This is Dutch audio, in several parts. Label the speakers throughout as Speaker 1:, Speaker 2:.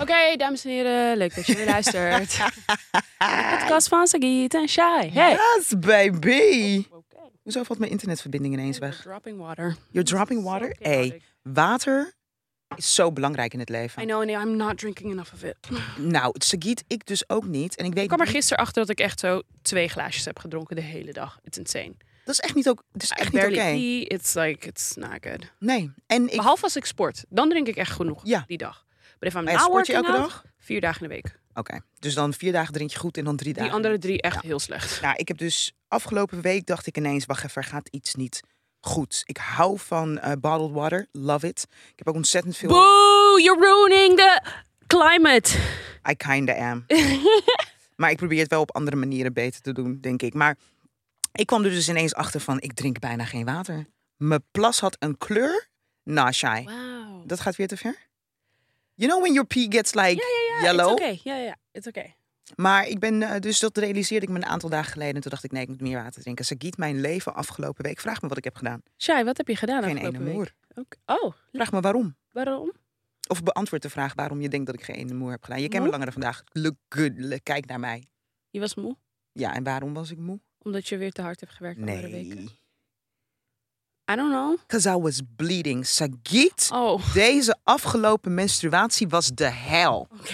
Speaker 1: Oké, dames en heren, leuk dat je weer luistert. De podcast van Sagiet en Shai. Hey. Oh,
Speaker 2: Yes, baby.
Speaker 1: Oké.
Speaker 2: Hoezo valt mijn internetverbinding ineens weg?
Speaker 1: Dropping water.
Speaker 2: You're dropping water?
Speaker 1: So
Speaker 2: Hey,
Speaker 1: chaotic.
Speaker 2: water is zo belangrijk in het
Speaker 1: I
Speaker 2: leven.
Speaker 1: know, and I'm not drinking enough of it.
Speaker 2: Nou, Sagiet, ik dus ook niet. En ik weet
Speaker 1: Ik kwam er
Speaker 2: niet-
Speaker 1: gisteren achter dat ik echt zo twee glaasjes heb gedronken de hele dag. It's insane.
Speaker 2: Dat is echt niet, ook, dat is
Speaker 1: I
Speaker 2: echt niet oké.
Speaker 1: barely pee. It's like, it's not good.
Speaker 2: Nee. En ik,
Speaker 1: Behalve als ik sport. Dan drink ik echt genoeg
Speaker 2: Ja.
Speaker 1: die dag. Maar even aan
Speaker 2: Maar ja, sport je elke dag?
Speaker 1: Vier dagen in de week.
Speaker 2: Oké, dus dan vier dagen drink je goed en dan drie
Speaker 1: Die
Speaker 2: dagen.
Speaker 1: andere drie echt heel slecht.
Speaker 2: Nou, ik heb dus afgelopen week dacht ik ineens, wacht even, er gaat iets niet goed. Ik hou van eh, bottled water, love it. Ik heb ook ontzettend veel...
Speaker 1: Boo, you're ruining the climate.
Speaker 2: I kinda am. maar ik probeer het wel op andere manieren beter te doen, denk ik. Maar ik kwam er dus ineens achter van, ik drink bijna geen water. Mijn plas had een kleur. Nou, shy.
Speaker 1: Wow.
Speaker 2: Dat gaat weer te ver. You know when your pee gets like
Speaker 1: Ja, ja, ja.
Speaker 2: yellow?
Speaker 1: It's okay. Ja, ja, ja. It's okay.
Speaker 2: Maar ik ben, eh, dus dat realiseerde ik me een aantal dagen geleden. En toen dacht ik, nee, ik moet meer water drinken. Sagiet, mijn leven afgelopen week. Vraag me wat ik heb gedaan.
Speaker 1: Shai, wat heb je gedaan
Speaker 2: geen ene
Speaker 1: afgelopen week?
Speaker 2: moer.
Speaker 1: Ook- Oh,
Speaker 2: Vraag me waarom.
Speaker 1: waarom?
Speaker 2: Of beantwoord de vraag waarom je denkt dat ik geen ene moer heb gedaan. Je kent me
Speaker 1: Moe?
Speaker 2: langer dan vandaag. Look good. Look- Kijk naar mij.
Speaker 1: Je was moe?
Speaker 2: Ja, en waarom was ik moe?
Speaker 1: Omdat je weer te hard hebt gewerkt andere weken?
Speaker 2: Nee.
Speaker 1: I don't know.
Speaker 2: Because I was bleeding. Sagiet,
Speaker 1: Oh,
Speaker 2: deze afgelopen menstruatie was de hel.
Speaker 1: oké.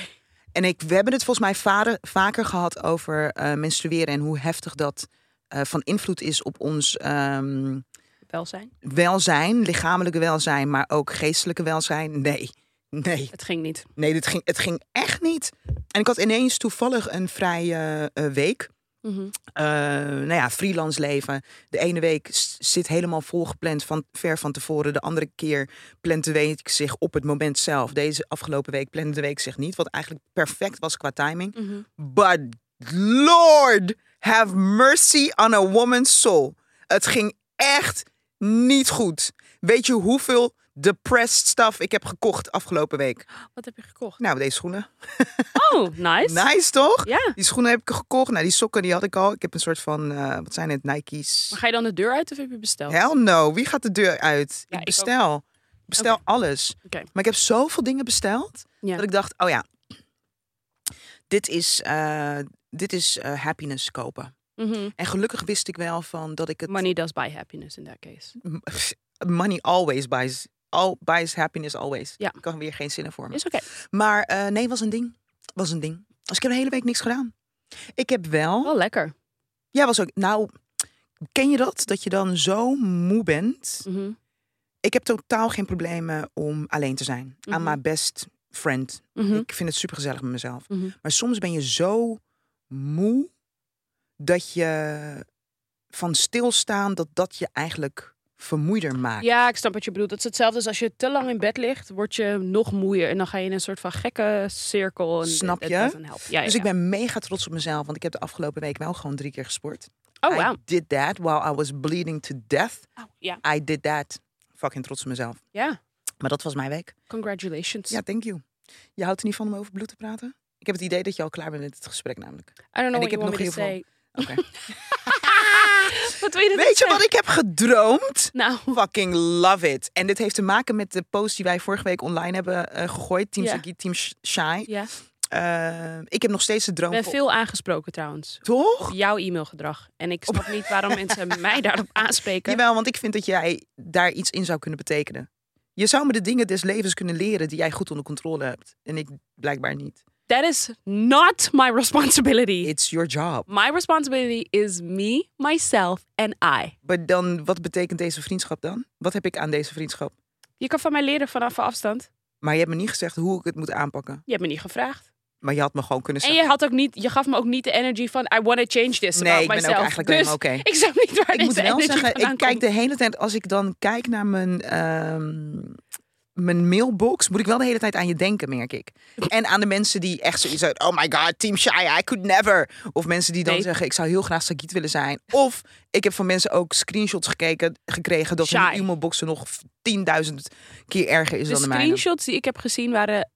Speaker 2: En ik, we hebben het volgens mij vader, vaker gehad over eh, menstrueren en hoe heftig dat eh, van invloed is op ons ehm,
Speaker 1: Welzijn.
Speaker 2: welzijn, lichamelijke welzijn, maar ook geestelijke welzijn. Nee, nee,
Speaker 1: Het ging niet.
Speaker 2: nee, dit ging, het ging echt niet. En ik had ineens toevallig een vrije eh, week.
Speaker 1: Mhm.
Speaker 2: eh, nou ja, freelance leven. De ene week s- zit helemaal volgepland van ver van tevoren. De andere keer plant de week zich op het moment zelf. Deze afgelopen week plande de week zich niet. Wat eigenlijk perfect was qua timing.
Speaker 1: Mhm.
Speaker 2: But Lord, have mercy on a woman's soul. Het ging echt niet goed. Weet je hoeveel depressed stuff ik heb gekocht afgelopen week?
Speaker 1: Wat heb je gekocht?
Speaker 2: Nou, deze schoenen.
Speaker 1: Oh, nice.
Speaker 2: Nice toch?
Speaker 1: Ja.
Speaker 2: Die schoenen heb ik gekocht. Nou, die sokken die had ik al. Ik heb een soort van, eh, wat zijn het, Nike's?
Speaker 1: Maar ga je dan de deur uit of heb je besteld?
Speaker 2: Hell no, wie gaat de deur uit?
Speaker 1: Ja,
Speaker 2: ik
Speaker 1: ik
Speaker 2: bestel. Ik bestel alles.
Speaker 1: Oké.
Speaker 2: Maar ik heb zoveel dingen besteld
Speaker 1: Ja.
Speaker 2: dat ik dacht, oh ja, dit is, eh, dit is eh, happiness kopen.
Speaker 1: Mhm.
Speaker 2: En gelukkig wist ik wel van dat ik het...
Speaker 1: Money does buy happiness in that case.
Speaker 2: Money always buys, al, buys happiness always.
Speaker 1: Ja.
Speaker 2: Ik kan weer geen zinnen voor me.
Speaker 1: Is oké.
Speaker 2: Maar eh, nee, was een ding. Was een ding. Dus ik heb de hele week niks gedaan. Ik heb wel...
Speaker 1: Wel lekker.
Speaker 2: Ja, was ook. Nou, ken je dat? Dat je dan zo moe bent.
Speaker 1: Mhm.
Speaker 2: Ik heb totaal geen problemen om alleen te zijn.
Speaker 1: Mhm.
Speaker 2: Aan mijn best friend.
Speaker 1: Mhm.
Speaker 2: Ik vind het supergezellig met mezelf.
Speaker 1: Mhm.
Speaker 2: Maar soms ben je zo moe dat je van stilstaan dat dat je eigenlijk vermoeider maakt.
Speaker 1: Ja, ik snap wat je bedoelt. Het is hetzelfde als als je te lang in bed ligt, word je nog moeier. En dan ga je in een soort van gekke cirkel. En
Speaker 2: Snap
Speaker 1: that
Speaker 2: je?
Speaker 1: doesn't help. Ja, ja,
Speaker 2: Dus
Speaker 1: ja.
Speaker 2: ik ben mega trots op mezelf, want ik heb de afgelopen week wel gewoon drie keer gesport.
Speaker 1: Oh, wauw.
Speaker 2: I did that while I was bleeding to death.
Speaker 1: Oh, ja.
Speaker 2: I did that. Fucking trots op mezelf.
Speaker 1: ja,
Speaker 2: Maar dat was mijn week.
Speaker 1: congratulations.
Speaker 2: Ja, thank you. Je houdt er niet van om over bloed te praten? Ik heb het idee dat je al klaar bent met het gesprek namelijk.
Speaker 1: I don't know
Speaker 2: En ik
Speaker 1: what you want
Speaker 2: heb
Speaker 1: me to
Speaker 2: nog
Speaker 1: say.
Speaker 2: heel Oké.
Speaker 1: Wat wil je dat ik
Speaker 2: Weet je
Speaker 1: zeg?
Speaker 2: wat ik heb gedroomd?
Speaker 1: Nou,
Speaker 2: Fucking love it. En dit heeft te maken met de post die wij vorige week online hebben eh, gegooid. Team
Speaker 1: Ja.
Speaker 2: Sagiet, Team Sh- Shai.
Speaker 1: ja.
Speaker 2: Eh, ik heb nog steeds de
Speaker 1: Ik
Speaker 2: droom.
Speaker 1: ben
Speaker 2: voor-
Speaker 1: veel aangesproken trouwens.
Speaker 2: Toch?
Speaker 1: Op jouw e-mailgedrag. En ik
Speaker 2: Oh.
Speaker 1: snap niet waarom mensen mij daarop aanspreken.
Speaker 2: Jawel, want ik vind dat jij daar iets in zou kunnen betekenen. Je zou me de dingen des levens kunnen leren die jij goed onder controle hebt. En ik blijkbaar niet.
Speaker 1: That is not my responsibility.
Speaker 2: It's your job.
Speaker 1: My responsibility is me, myself and I.
Speaker 2: Maar dan, wat betekent deze vriendschap dan? Wat heb ik aan deze vriendschap?
Speaker 1: Je kan van mij leren vanaf een afstand.
Speaker 2: Maar je hebt me niet gezegd hoe ik het moet aanpakken.
Speaker 1: Je hebt me niet gevraagd.
Speaker 2: Maar je had me gewoon kunnen
Speaker 1: En
Speaker 2: zeggen.
Speaker 1: je, had ook niet, je gaf me ook niet de energy van I want to change this
Speaker 2: Nee,
Speaker 1: about
Speaker 2: ik ben ook
Speaker 1: myself.
Speaker 2: eigenlijk alleen
Speaker 1: dus
Speaker 2: maar oké.
Speaker 1: ik snap niet waar
Speaker 2: Ik
Speaker 1: deze
Speaker 2: moet wel
Speaker 1: energy
Speaker 2: zeggen,
Speaker 1: vandaan
Speaker 2: ik kijk
Speaker 1: komt.
Speaker 2: de hele tijd, als ik dan kijk naar mijn, ehm, mijn mailbox, moet ik wel de hele tijd aan je denken, merk ik. En aan de mensen die echt zoiets uit, oh my god, Team Shia, I could never. Of mensen die dan
Speaker 1: Nee.
Speaker 2: zeggen, ik zou heel graag Sagiet willen zijn. Of ik heb van mensen ook screenshots gekeken, gekregen dat hun
Speaker 1: Shy.
Speaker 2: e-mailboxen nog 10.000 keer erger is
Speaker 1: De
Speaker 2: dan de mijne.
Speaker 1: screenshots die ik heb gezien waren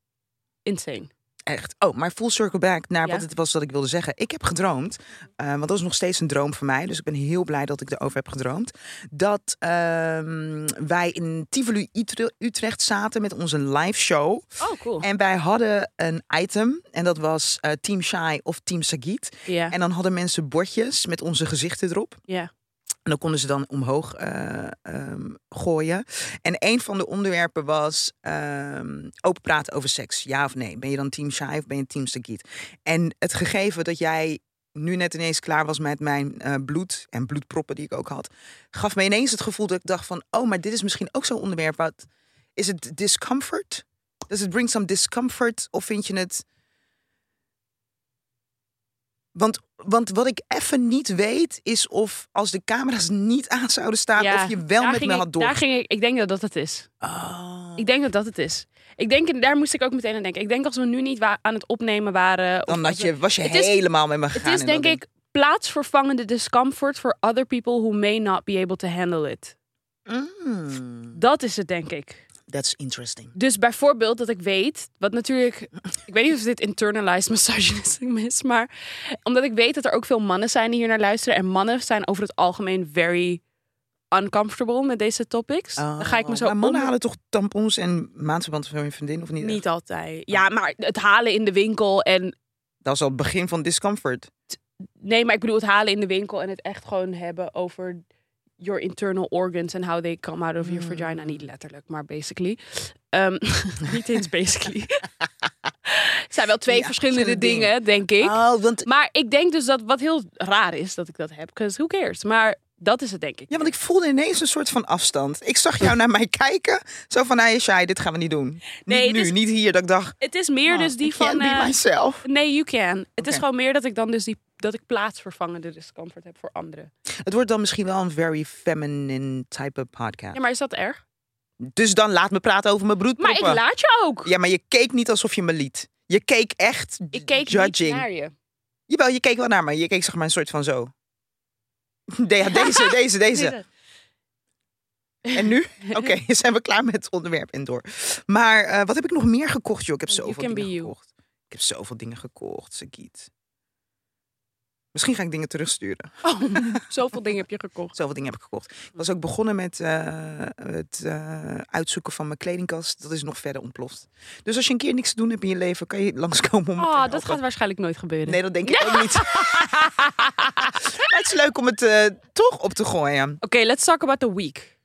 Speaker 1: insane.
Speaker 2: Echt. Oh, maar full circle back naar
Speaker 1: Ja.
Speaker 2: wat het was dat ik wilde zeggen. Ik heb gedroomd, eh, want dat is nog steeds een droom van mij. Dus ik ben heel blij dat ik erover heb gedroomd. Dat ehm, wij in Tivoli Utre- Utrecht zaten met onze live show.
Speaker 1: Oh, cool.
Speaker 2: En wij hadden een item. En dat was eh, Team Shy of Team Sagit.
Speaker 1: ja.
Speaker 2: En dan hadden mensen bordjes met onze gezichten erop.
Speaker 1: ja.
Speaker 2: En dan konden ze dan omhoog eh, ehm, gooien. En een van de onderwerpen was ehm, open praten over seks. Ja of nee? Ben je dan team shy of ben je team Sagitt? En het gegeven dat jij nu net ineens klaar was met mijn eh, bloed en bloedproppen die ik ook had, gaf me ineens het gevoel dat ik dacht van, oh, maar dit is misschien ook zo'n onderwerp. Wat is het discomfort? Does it bring some discomfort? Of vind je het want, want wat ik even niet weet is of als de camera's niet aan zouden staan,
Speaker 1: Ja,
Speaker 2: of je wel
Speaker 1: daar
Speaker 2: met
Speaker 1: ging
Speaker 2: me
Speaker 1: ik-
Speaker 2: had door.
Speaker 1: Daar ging ik, ik denk dat dat het is.
Speaker 2: Oh.
Speaker 1: Ik denk dat dat het is. Ik denk, daar moest ik ook meteen aan denken. Ik denk als we nu niet wa- aan het opnemen waren. of
Speaker 2: Dan
Speaker 1: als
Speaker 2: had
Speaker 1: we-
Speaker 2: je, was je
Speaker 1: Het is-
Speaker 2: helemaal met me gegaan.
Speaker 1: Het is
Speaker 2: en
Speaker 1: denk
Speaker 2: dat
Speaker 1: ik plaatsvervangende discomfort for other people who may not be able to handle it.
Speaker 2: Mm,
Speaker 1: Dat is het, denk ik.
Speaker 2: that's interesting.
Speaker 1: Dus bijvoorbeeld dat ik weet, wat natuurlijk, ik weet niet of dit internalized misogynism is, maar omdat ik weet dat er ook veel mannen zijn die hier naar luisteren en mannen zijn over het algemeen very uncomfortable met deze topics. dan ga ik me
Speaker 2: Oh,
Speaker 1: zo
Speaker 2: maar mannen
Speaker 1: om-
Speaker 2: halen toch tampons en maandverband van hun vriendin of niet?
Speaker 1: Niet altijd. Ja, maar het halen in de winkel en
Speaker 2: Dat is al het begin van discomfort.
Speaker 1: nee, maar ik bedoel het halen in de winkel en het echt gewoon hebben over your internal organs and how they come out of your
Speaker 2: Hmm.
Speaker 1: vagina. Niet letterlijk, maar basically. Ehm, niet eens basically. Het zijn wel twee
Speaker 2: Ja,
Speaker 1: verschillende,
Speaker 2: verschillende
Speaker 1: dingen, denk ik.
Speaker 2: Oh, want,
Speaker 1: Maar ik denk dus dat wat heel raar is dat ik dat heb. Because who cares? Maar dat is het denk ik.
Speaker 2: ja, want ik voelde ineens een soort van afstand. Ik zag jou naar mij kijken. Zo van, hey, Shai, dit gaan we niet doen.
Speaker 1: Nee,
Speaker 2: niet
Speaker 1: het
Speaker 2: nu,
Speaker 1: is-
Speaker 2: niet hier. Dat ik dacht,
Speaker 1: Het is meer dus die
Speaker 2: ik
Speaker 1: van...
Speaker 2: be
Speaker 1: eh,
Speaker 2: myself.
Speaker 1: nee, you can. Het is
Speaker 2: Oké.
Speaker 1: gewoon meer dat ik dan dus die... Dat ik plaatsvervangende discomfort heb voor anderen.
Speaker 2: Het wordt dan misschien wel een very feminine type podcast.
Speaker 1: Ja, maar is dat erg?
Speaker 2: Dus dan laat me praten over mijn
Speaker 1: Maar
Speaker 2: broedproppen.
Speaker 1: ik laat je ook.
Speaker 2: Ja, maar je keek niet alsof je me liet. Je keek echt
Speaker 1: Ik keek
Speaker 2: judging.
Speaker 1: niet naar je.
Speaker 2: Jawel, je keek wel naar me. Je keek zeg maar een soort van zo. De- ja, deze, deze, deze.
Speaker 1: Deze.
Speaker 2: En nu? Oké, zijn we klaar met het onderwerp en door. Maar eh, wat heb ik nog meer gekocht, joh? Ik heb
Speaker 1: You
Speaker 2: zoveel
Speaker 1: can
Speaker 2: dingen
Speaker 1: be you.
Speaker 2: gekocht. Ik heb zoveel dingen gekocht, Sagiet. Misschien ga ik dingen terugsturen.
Speaker 1: Oh, zoveel dingen heb je gekocht.
Speaker 2: Zoveel dingen heb ik gekocht. Ik was ook begonnen met eh, het eh, uitzoeken van mijn kledingkast. Dat is nog verder ontploft. Dus als je een keer niks te doen hebt in je leven, kan je langskomen om. me te
Speaker 1: Oh, dat
Speaker 2: helpen.
Speaker 1: gaat waarschijnlijk nooit gebeuren.
Speaker 2: Nee, dat denk ik ook niet. maar het is leuk om het eh, toch op te gooien.
Speaker 1: Oké, let's talk about the week.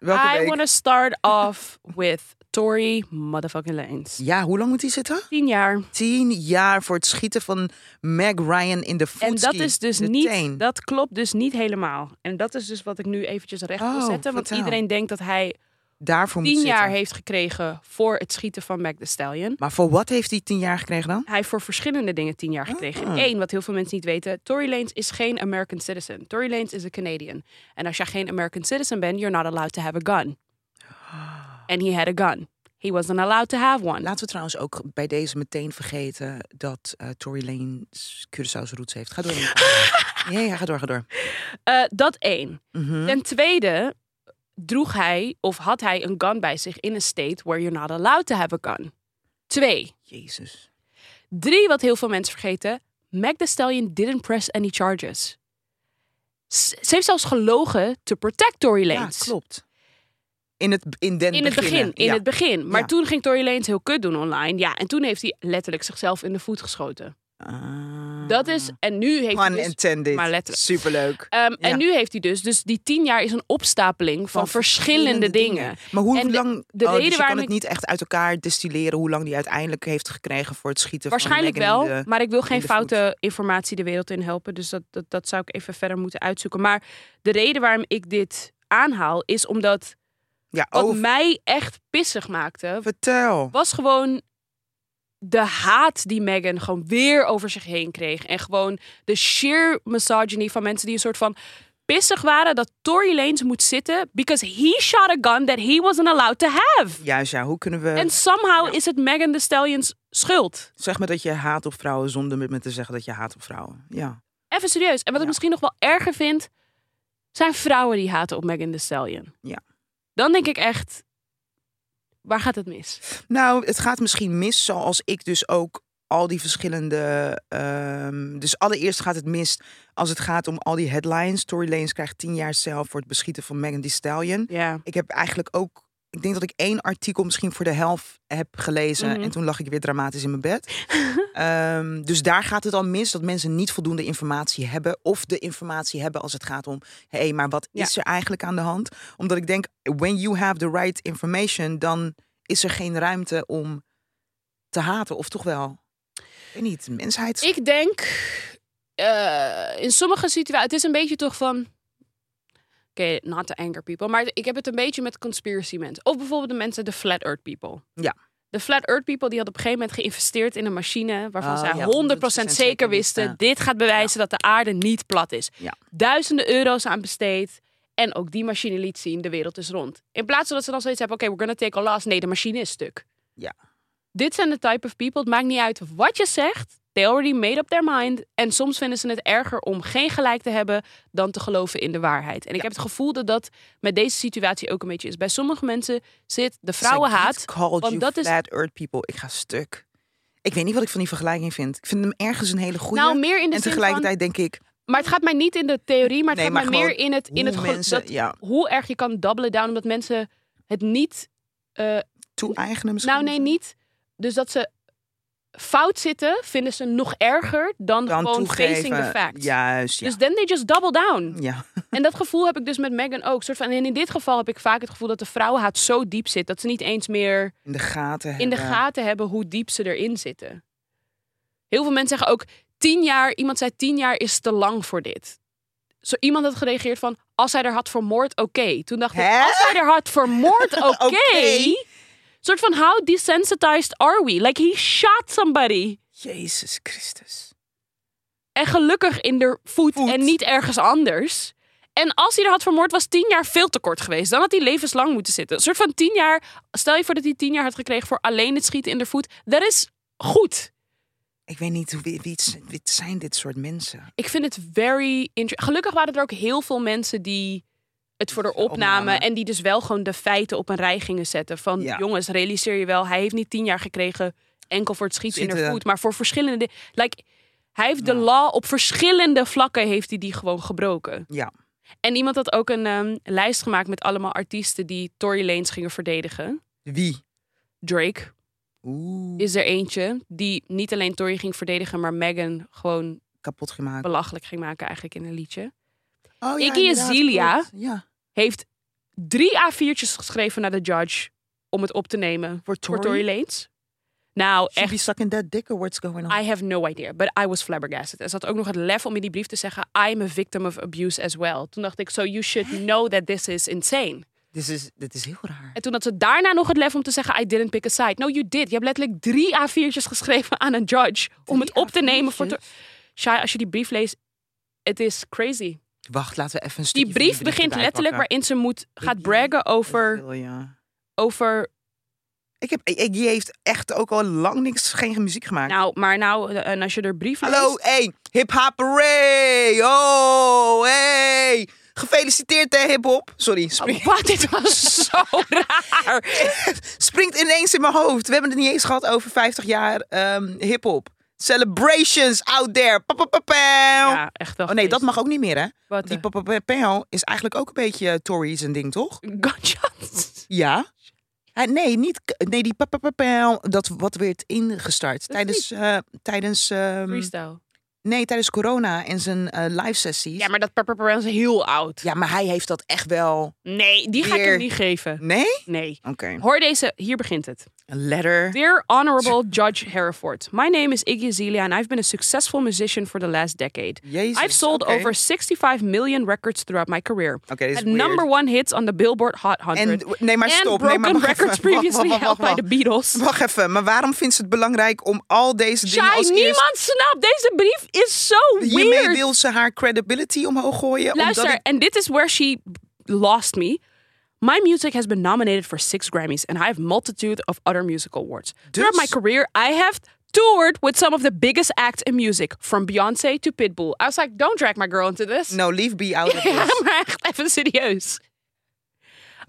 Speaker 2: Welke
Speaker 1: I
Speaker 2: week?
Speaker 1: want to start off with Tory motherfucking Lanez.
Speaker 2: Ja, hoe lang moet die zitten?
Speaker 1: Tien jaar.
Speaker 2: Tien jaar voor het schieten van Meg Ryan in de
Speaker 1: En
Speaker 2: footski.
Speaker 1: dat is dus
Speaker 2: de
Speaker 1: niet,
Speaker 2: teen.
Speaker 1: dat klopt dus niet helemaal. En dat is dus wat ik nu eventjes recht wil
Speaker 2: Oh,
Speaker 1: zetten. Want
Speaker 2: vertel.
Speaker 1: iedereen denkt dat hij
Speaker 2: Daarvoor moet
Speaker 1: tien jaar
Speaker 2: zitten.
Speaker 1: heeft gekregen voor het schieten van Mac the Stallion.
Speaker 2: Maar voor wat heeft hij tien jaar gekregen dan?
Speaker 1: Hij heeft voor verschillende dingen tien jaar gekregen.
Speaker 2: Ah.
Speaker 1: Eén, wat heel veel mensen niet weten. Tory Lanez is geen American citizen. Tory Lanez is een Canadian. En als jij geen American citizen bent, you're not allowed to have a gun. And he had a gun. He wasn't allowed to have one.
Speaker 2: Laten we trouwens ook bij deze meteen vergeten dat eh Tory Lanez Curaçao's roots heeft. Ga door. Nicole. ja, ja, ga door, ga door.
Speaker 1: Eh, dat één.
Speaker 2: Mhm.
Speaker 1: Ten tweede droeg hij of had hij een gun bij zich in een state where you're not allowed to have a gun. Twee.
Speaker 2: Jezus.
Speaker 1: Drie, wat heel veel mensen vergeten. Meg Thee Stallion didn't press any charges. S- Ze heeft zelfs gelogen to protect Tory
Speaker 2: Ja,
Speaker 1: Lanez.
Speaker 2: klopt. In het, in den
Speaker 1: in het begin,
Speaker 2: beginnen,
Speaker 1: in
Speaker 2: ja.
Speaker 1: het begin. Maar
Speaker 2: Ja.
Speaker 1: toen ging Tory Lanez heel kut doen online. Ja, en toen heeft hij letterlijk zichzelf in de voet geschoten.
Speaker 2: Ah.
Speaker 1: Dat is, en nu heeft hij
Speaker 2: Pun
Speaker 1: dus...
Speaker 2: intended.
Speaker 1: maar letterlijk.
Speaker 2: Superleuk.
Speaker 1: Ehm,
Speaker 2: Ja.
Speaker 1: En nu heeft hij dus, dus die tien jaar is een opstapeling van, verschillende, dingen.
Speaker 2: Maar hoe
Speaker 1: En de-
Speaker 2: lang...
Speaker 1: de
Speaker 2: oh, dus
Speaker 1: reden
Speaker 2: je
Speaker 1: waarom
Speaker 2: kan het
Speaker 1: ik-
Speaker 2: niet echt uit elkaar destilleren hoe lang die uiteindelijk heeft gekregen voor het schieten
Speaker 1: Waarschijnlijk
Speaker 2: van Meghan
Speaker 1: wel,
Speaker 2: in de-
Speaker 1: maar ik wil geen
Speaker 2: de
Speaker 1: foute informatie de wereld in helpen. Dus dat, dat, dat zou ik even verder moeten uitzoeken. Maar de reden waarom ik dit aanhaal is omdat
Speaker 2: Ja,
Speaker 1: wat
Speaker 2: oh,
Speaker 1: mij echt pissig maakte,
Speaker 2: vertel.
Speaker 1: was gewoon de haat die Meghan gewoon weer over zich heen kreeg. En gewoon de sheer misogyny van mensen die een soort van pissig waren dat Tory Lanez moet zitten because he shot a gun that he wasn't allowed to have.
Speaker 2: Juist, ja. Hoe kunnen we...
Speaker 1: En somehow is het Meghan Thee Stallion's schuld.
Speaker 2: Zeg maar dat je haat op vrouwen zonder met me te zeggen dat je haat op vrouwen. Ja.
Speaker 1: Even serieus. En wat ik
Speaker 2: Ja.
Speaker 1: misschien nog wel erger vind, zijn vrouwen die haten op Megan Thee Stallion.
Speaker 2: Ja.
Speaker 1: Dan denk ik echt, Waar gaat het mis?
Speaker 2: Nou, het gaat misschien mis, zoals ik dus ook al die verschillende. ehm, dus allereerst gaat het mis als het gaat om al die headlines. Tory Lanez krijgt tien jaar cel voor het beschieten van Megan Thee Stallion.
Speaker 1: Ja.
Speaker 2: Ik heb eigenlijk ook. Ik denk dat ik één artikel misschien voor de helft heb gelezen.
Speaker 1: Mhm.
Speaker 2: En toen lag ik weer dramatisch in mijn bed. Ehm, dus daar gaat het al mis. Dat mensen niet voldoende informatie hebben. Of de informatie hebben als het gaat om... Hé, hey, maar wat
Speaker 1: Ja.
Speaker 2: is er eigenlijk aan de hand? Omdat ik denk, when you have the right information... dan is er geen ruimte om te haten. Of toch wel? Ik weet niet, mensheid...
Speaker 1: Ik denk eh, in sommige situaties. Het is een beetje toch van. Oké, not the anger people. Maar ik heb het een beetje met conspiracy mensen. Of bijvoorbeeld de mensen, de flat earth people.
Speaker 2: Ja.
Speaker 1: De flat earth people die hadden op een gegeven moment geïnvesteerd in een machine waarvan
Speaker 2: Oh,
Speaker 1: zij 100%
Speaker 2: ja, 100%
Speaker 1: zeker
Speaker 2: zeker
Speaker 1: wisten,
Speaker 2: wisten.
Speaker 1: dit gaat bewijzen dat de aarde niet plat is.
Speaker 2: Ja.
Speaker 1: Duizenden euro's aan besteed en ook die machine liet zien, de wereld is rond. In plaats van dat ze dan zoiets hebben, oké, we're gonna take a loss. Nee, de machine is stuk.
Speaker 2: Ja.
Speaker 1: Dit zijn de type of people, het maakt niet uit wat je zegt, they already made up their mind. En soms vinden ze het erger om geen gelijk te hebben dan te geloven in de waarheid. En ik heb het gevoel dat dat met deze situatie ook een beetje is. Bij sommige mensen zit de vrouwenhaat.
Speaker 2: Sagitt called
Speaker 1: want
Speaker 2: you
Speaker 1: dat is-
Speaker 2: flat earth people. Ik ga stuk. Ik weet niet wat ik van die vergelijking vind. Ik vind hem ergens een hele goede.
Speaker 1: Nou, meer in de
Speaker 2: en
Speaker 1: zin
Speaker 2: tegelijkertijd denk ik,
Speaker 1: van... Maar het gaat mij niet in de theorie, maar het
Speaker 2: Nee,
Speaker 1: gaat
Speaker 2: maar
Speaker 1: mij meer
Speaker 2: gewoon
Speaker 1: in het, in
Speaker 2: hoe
Speaker 1: het ge-
Speaker 2: mensen-
Speaker 1: dat,
Speaker 2: ja.
Speaker 1: hoe erg je kan doublen down. Omdat mensen het niet... eh,
Speaker 2: toe-eigenen misschien.
Speaker 1: nou nee, niet. Dus dat ze fout zitten, vinden ze nog erger dan,
Speaker 2: Dan
Speaker 1: gewoon
Speaker 2: toegeven.
Speaker 1: facing the facts.
Speaker 2: Juist, ja.
Speaker 1: Dus then they just double down.
Speaker 2: ja.
Speaker 1: En dat gevoel heb ik dus met Megan ook. Soort van, en in dit geval heb ik vaak het gevoel dat de vrouwenhaat zo diep zit... dat ze niet eens meer
Speaker 2: In de gaten
Speaker 1: in de
Speaker 2: hebben.
Speaker 1: gaten hebben hoe diep ze erin zitten. Heel veel mensen zeggen ook tien jaar. Iemand zei tien jaar is te lang voor dit. Zo iemand had gereageerd van als hij er had vermoord, oké. Toen dacht ik
Speaker 2: Hè?
Speaker 1: als hij er had vermoord, oké.
Speaker 2: Oké.
Speaker 1: Soort van how desensitized are we? Like he shot somebody.
Speaker 2: Jezus Christus.
Speaker 1: En gelukkig in de voet,
Speaker 2: Voet.
Speaker 1: en niet ergens anders. En als hij er had vermoord, was tien jaar veel te kort geweest. Dan had hij levenslang moeten zitten. Een soort van tien jaar. Stel je voor dat hij tien jaar had gekregen voor alleen het schieten in de voet. Dat is goed.
Speaker 2: Ik weet niet, hoe- wie, wie, wie zijn dit soort mensen?
Speaker 1: ik vind het very interesting. Gelukkig waren er ook heel veel mensen die het voor de
Speaker 2: Opnamen.
Speaker 1: opnamen en die dus wel gewoon de feiten op een rij gingen zetten. Van
Speaker 2: Ja.
Speaker 1: jongens, realiseer je wel, hij heeft niet tien jaar gekregen enkel voor het schieten in de
Speaker 2: Schieten.
Speaker 1: voet, maar voor verschillende. di- Like, hij heeft de law op verschillende vlakken heeft hij die gewoon gebroken.
Speaker 2: Ja.
Speaker 1: En iemand had ook een ehm, lijst gemaakt met allemaal artiesten die Tory Lanez gingen verdedigen.
Speaker 2: Wie?
Speaker 1: Drake
Speaker 2: Oeh,
Speaker 1: is er eentje die niet alleen Tory ging verdedigen, maar Megan gewoon
Speaker 2: kapot gemaakt.
Speaker 1: belachelijk ging maken eigenlijk in een liedje.
Speaker 2: Oh,
Speaker 1: Iggy Azalea.
Speaker 2: klopt. Ja,
Speaker 1: heeft drie A4'tjes geschreven naar de judge om het op te nemen
Speaker 2: voor
Speaker 1: voor
Speaker 2: Tory.
Speaker 1: Tory Lanez. Nou,
Speaker 2: She
Speaker 1: echt,
Speaker 2: be sucking that dick or what's going on?
Speaker 1: I have no idea, but I was flabbergasted. Er zat ook nog het lef om in die brief te zeggen, I'm a victim of abuse as well. Toen dacht ik, so you should know that this is insane.
Speaker 2: Dit is, dit is heel raar.
Speaker 1: En toen had ze daarna nog het lef om te zeggen, I didn't pick a side. No, you did. Je hebt letterlijk drie A4'tjes geschreven aan een judge om het op te nemen voor... Tor- Shai, als je die brief leest, het is crazy.
Speaker 2: Wacht, laten we even een stukje
Speaker 1: Die
Speaker 2: van
Speaker 1: brief begint
Speaker 2: erbij
Speaker 1: letterlijk
Speaker 2: pakken.
Speaker 1: waarin ze moet, gaat
Speaker 2: Iggy
Speaker 1: braggen over,
Speaker 2: Azalea.
Speaker 1: over
Speaker 2: Ik heb, Iggy heeft echt ook al lang niks, geen muziek gemaakt.
Speaker 1: Nou, maar nou, eh, en als je er brief
Speaker 2: Hallo,
Speaker 1: leest...
Speaker 2: hey, hip hop array. Oh, hey. Gefeliciteerd hè, hip hop. Sorry, spring-
Speaker 1: Oh, Wat, dit was zo raar.
Speaker 2: springt ineens in mijn hoofd. We hebben het niet eens gehad over 50 jaar ehm hip hop. Celebrations out there. Pa, pa, pa, pow.
Speaker 1: Ja, echt wel
Speaker 2: oh nee, dat
Speaker 1: geweest.
Speaker 2: mag ook niet meer hè.
Speaker 1: Wat,
Speaker 2: Want Die
Speaker 1: eh?
Speaker 2: pa, pa, pa, pow is eigenlijk ook een beetje eh, Tory zijn ding, toch?
Speaker 1: Mm. Gunshots.
Speaker 2: Ja. Ah, nee, niet, nee, die pa, pa, pa, pow, dat wat werd ingestart tijdens, eh, tijdens, ehm,
Speaker 1: Freestyle.
Speaker 2: nee, tijdens corona en zijn eh, live sessies.
Speaker 1: Ja, maar dat Pepper Brown is heel oud.
Speaker 2: Ja, maar hij heeft dat echt wel.
Speaker 1: Nee, die ga ik hem
Speaker 2: Weer.
Speaker 1: niet geven.
Speaker 2: Nee?
Speaker 1: Nee.
Speaker 2: Oké.
Speaker 1: Hoor deze, hier begint het.
Speaker 2: Een letter.
Speaker 1: Dear Honorable Judge Hereford, my name is Iggy Azalea and I've been a successful musician for the last decade.
Speaker 2: Jezus.
Speaker 1: I've sold
Speaker 2: oké.
Speaker 1: over 65 million records throughout my career.
Speaker 2: Oké, dit is
Speaker 1: Had
Speaker 2: weird.
Speaker 1: number one hits on the Billboard Hot 100.
Speaker 2: En nee, maar
Speaker 1: and
Speaker 2: stop. nee,
Speaker 1: broken
Speaker 2: maar wacht
Speaker 1: records
Speaker 2: even. Wacht,
Speaker 1: previously
Speaker 2: wacht,
Speaker 1: held
Speaker 2: wacht,
Speaker 1: by the Beatles.
Speaker 2: wacht. Wacht even. Maar waarom vindt ze het belangrijk om al deze dingen
Speaker 1: Shai,
Speaker 2: als
Speaker 1: niemand snapt. Deze brief is zo
Speaker 2: eerst... Hiermee
Speaker 1: weird.
Speaker 2: wil ze haar credibility omhoog gooien.
Speaker 1: Luister,
Speaker 2: Omdat het...
Speaker 1: and this is where she lost me. My music has been nominated for six Grammys, and I have multitude of other musical awards. Throughout my
Speaker 2: Dus-
Speaker 1: career, I have toured with some of the biggest acts in music, from Beyonce to Pitbull. I was like, don't drag my girl into this.
Speaker 2: Dus- No, leave be out of this.
Speaker 1: maar echt even serieus.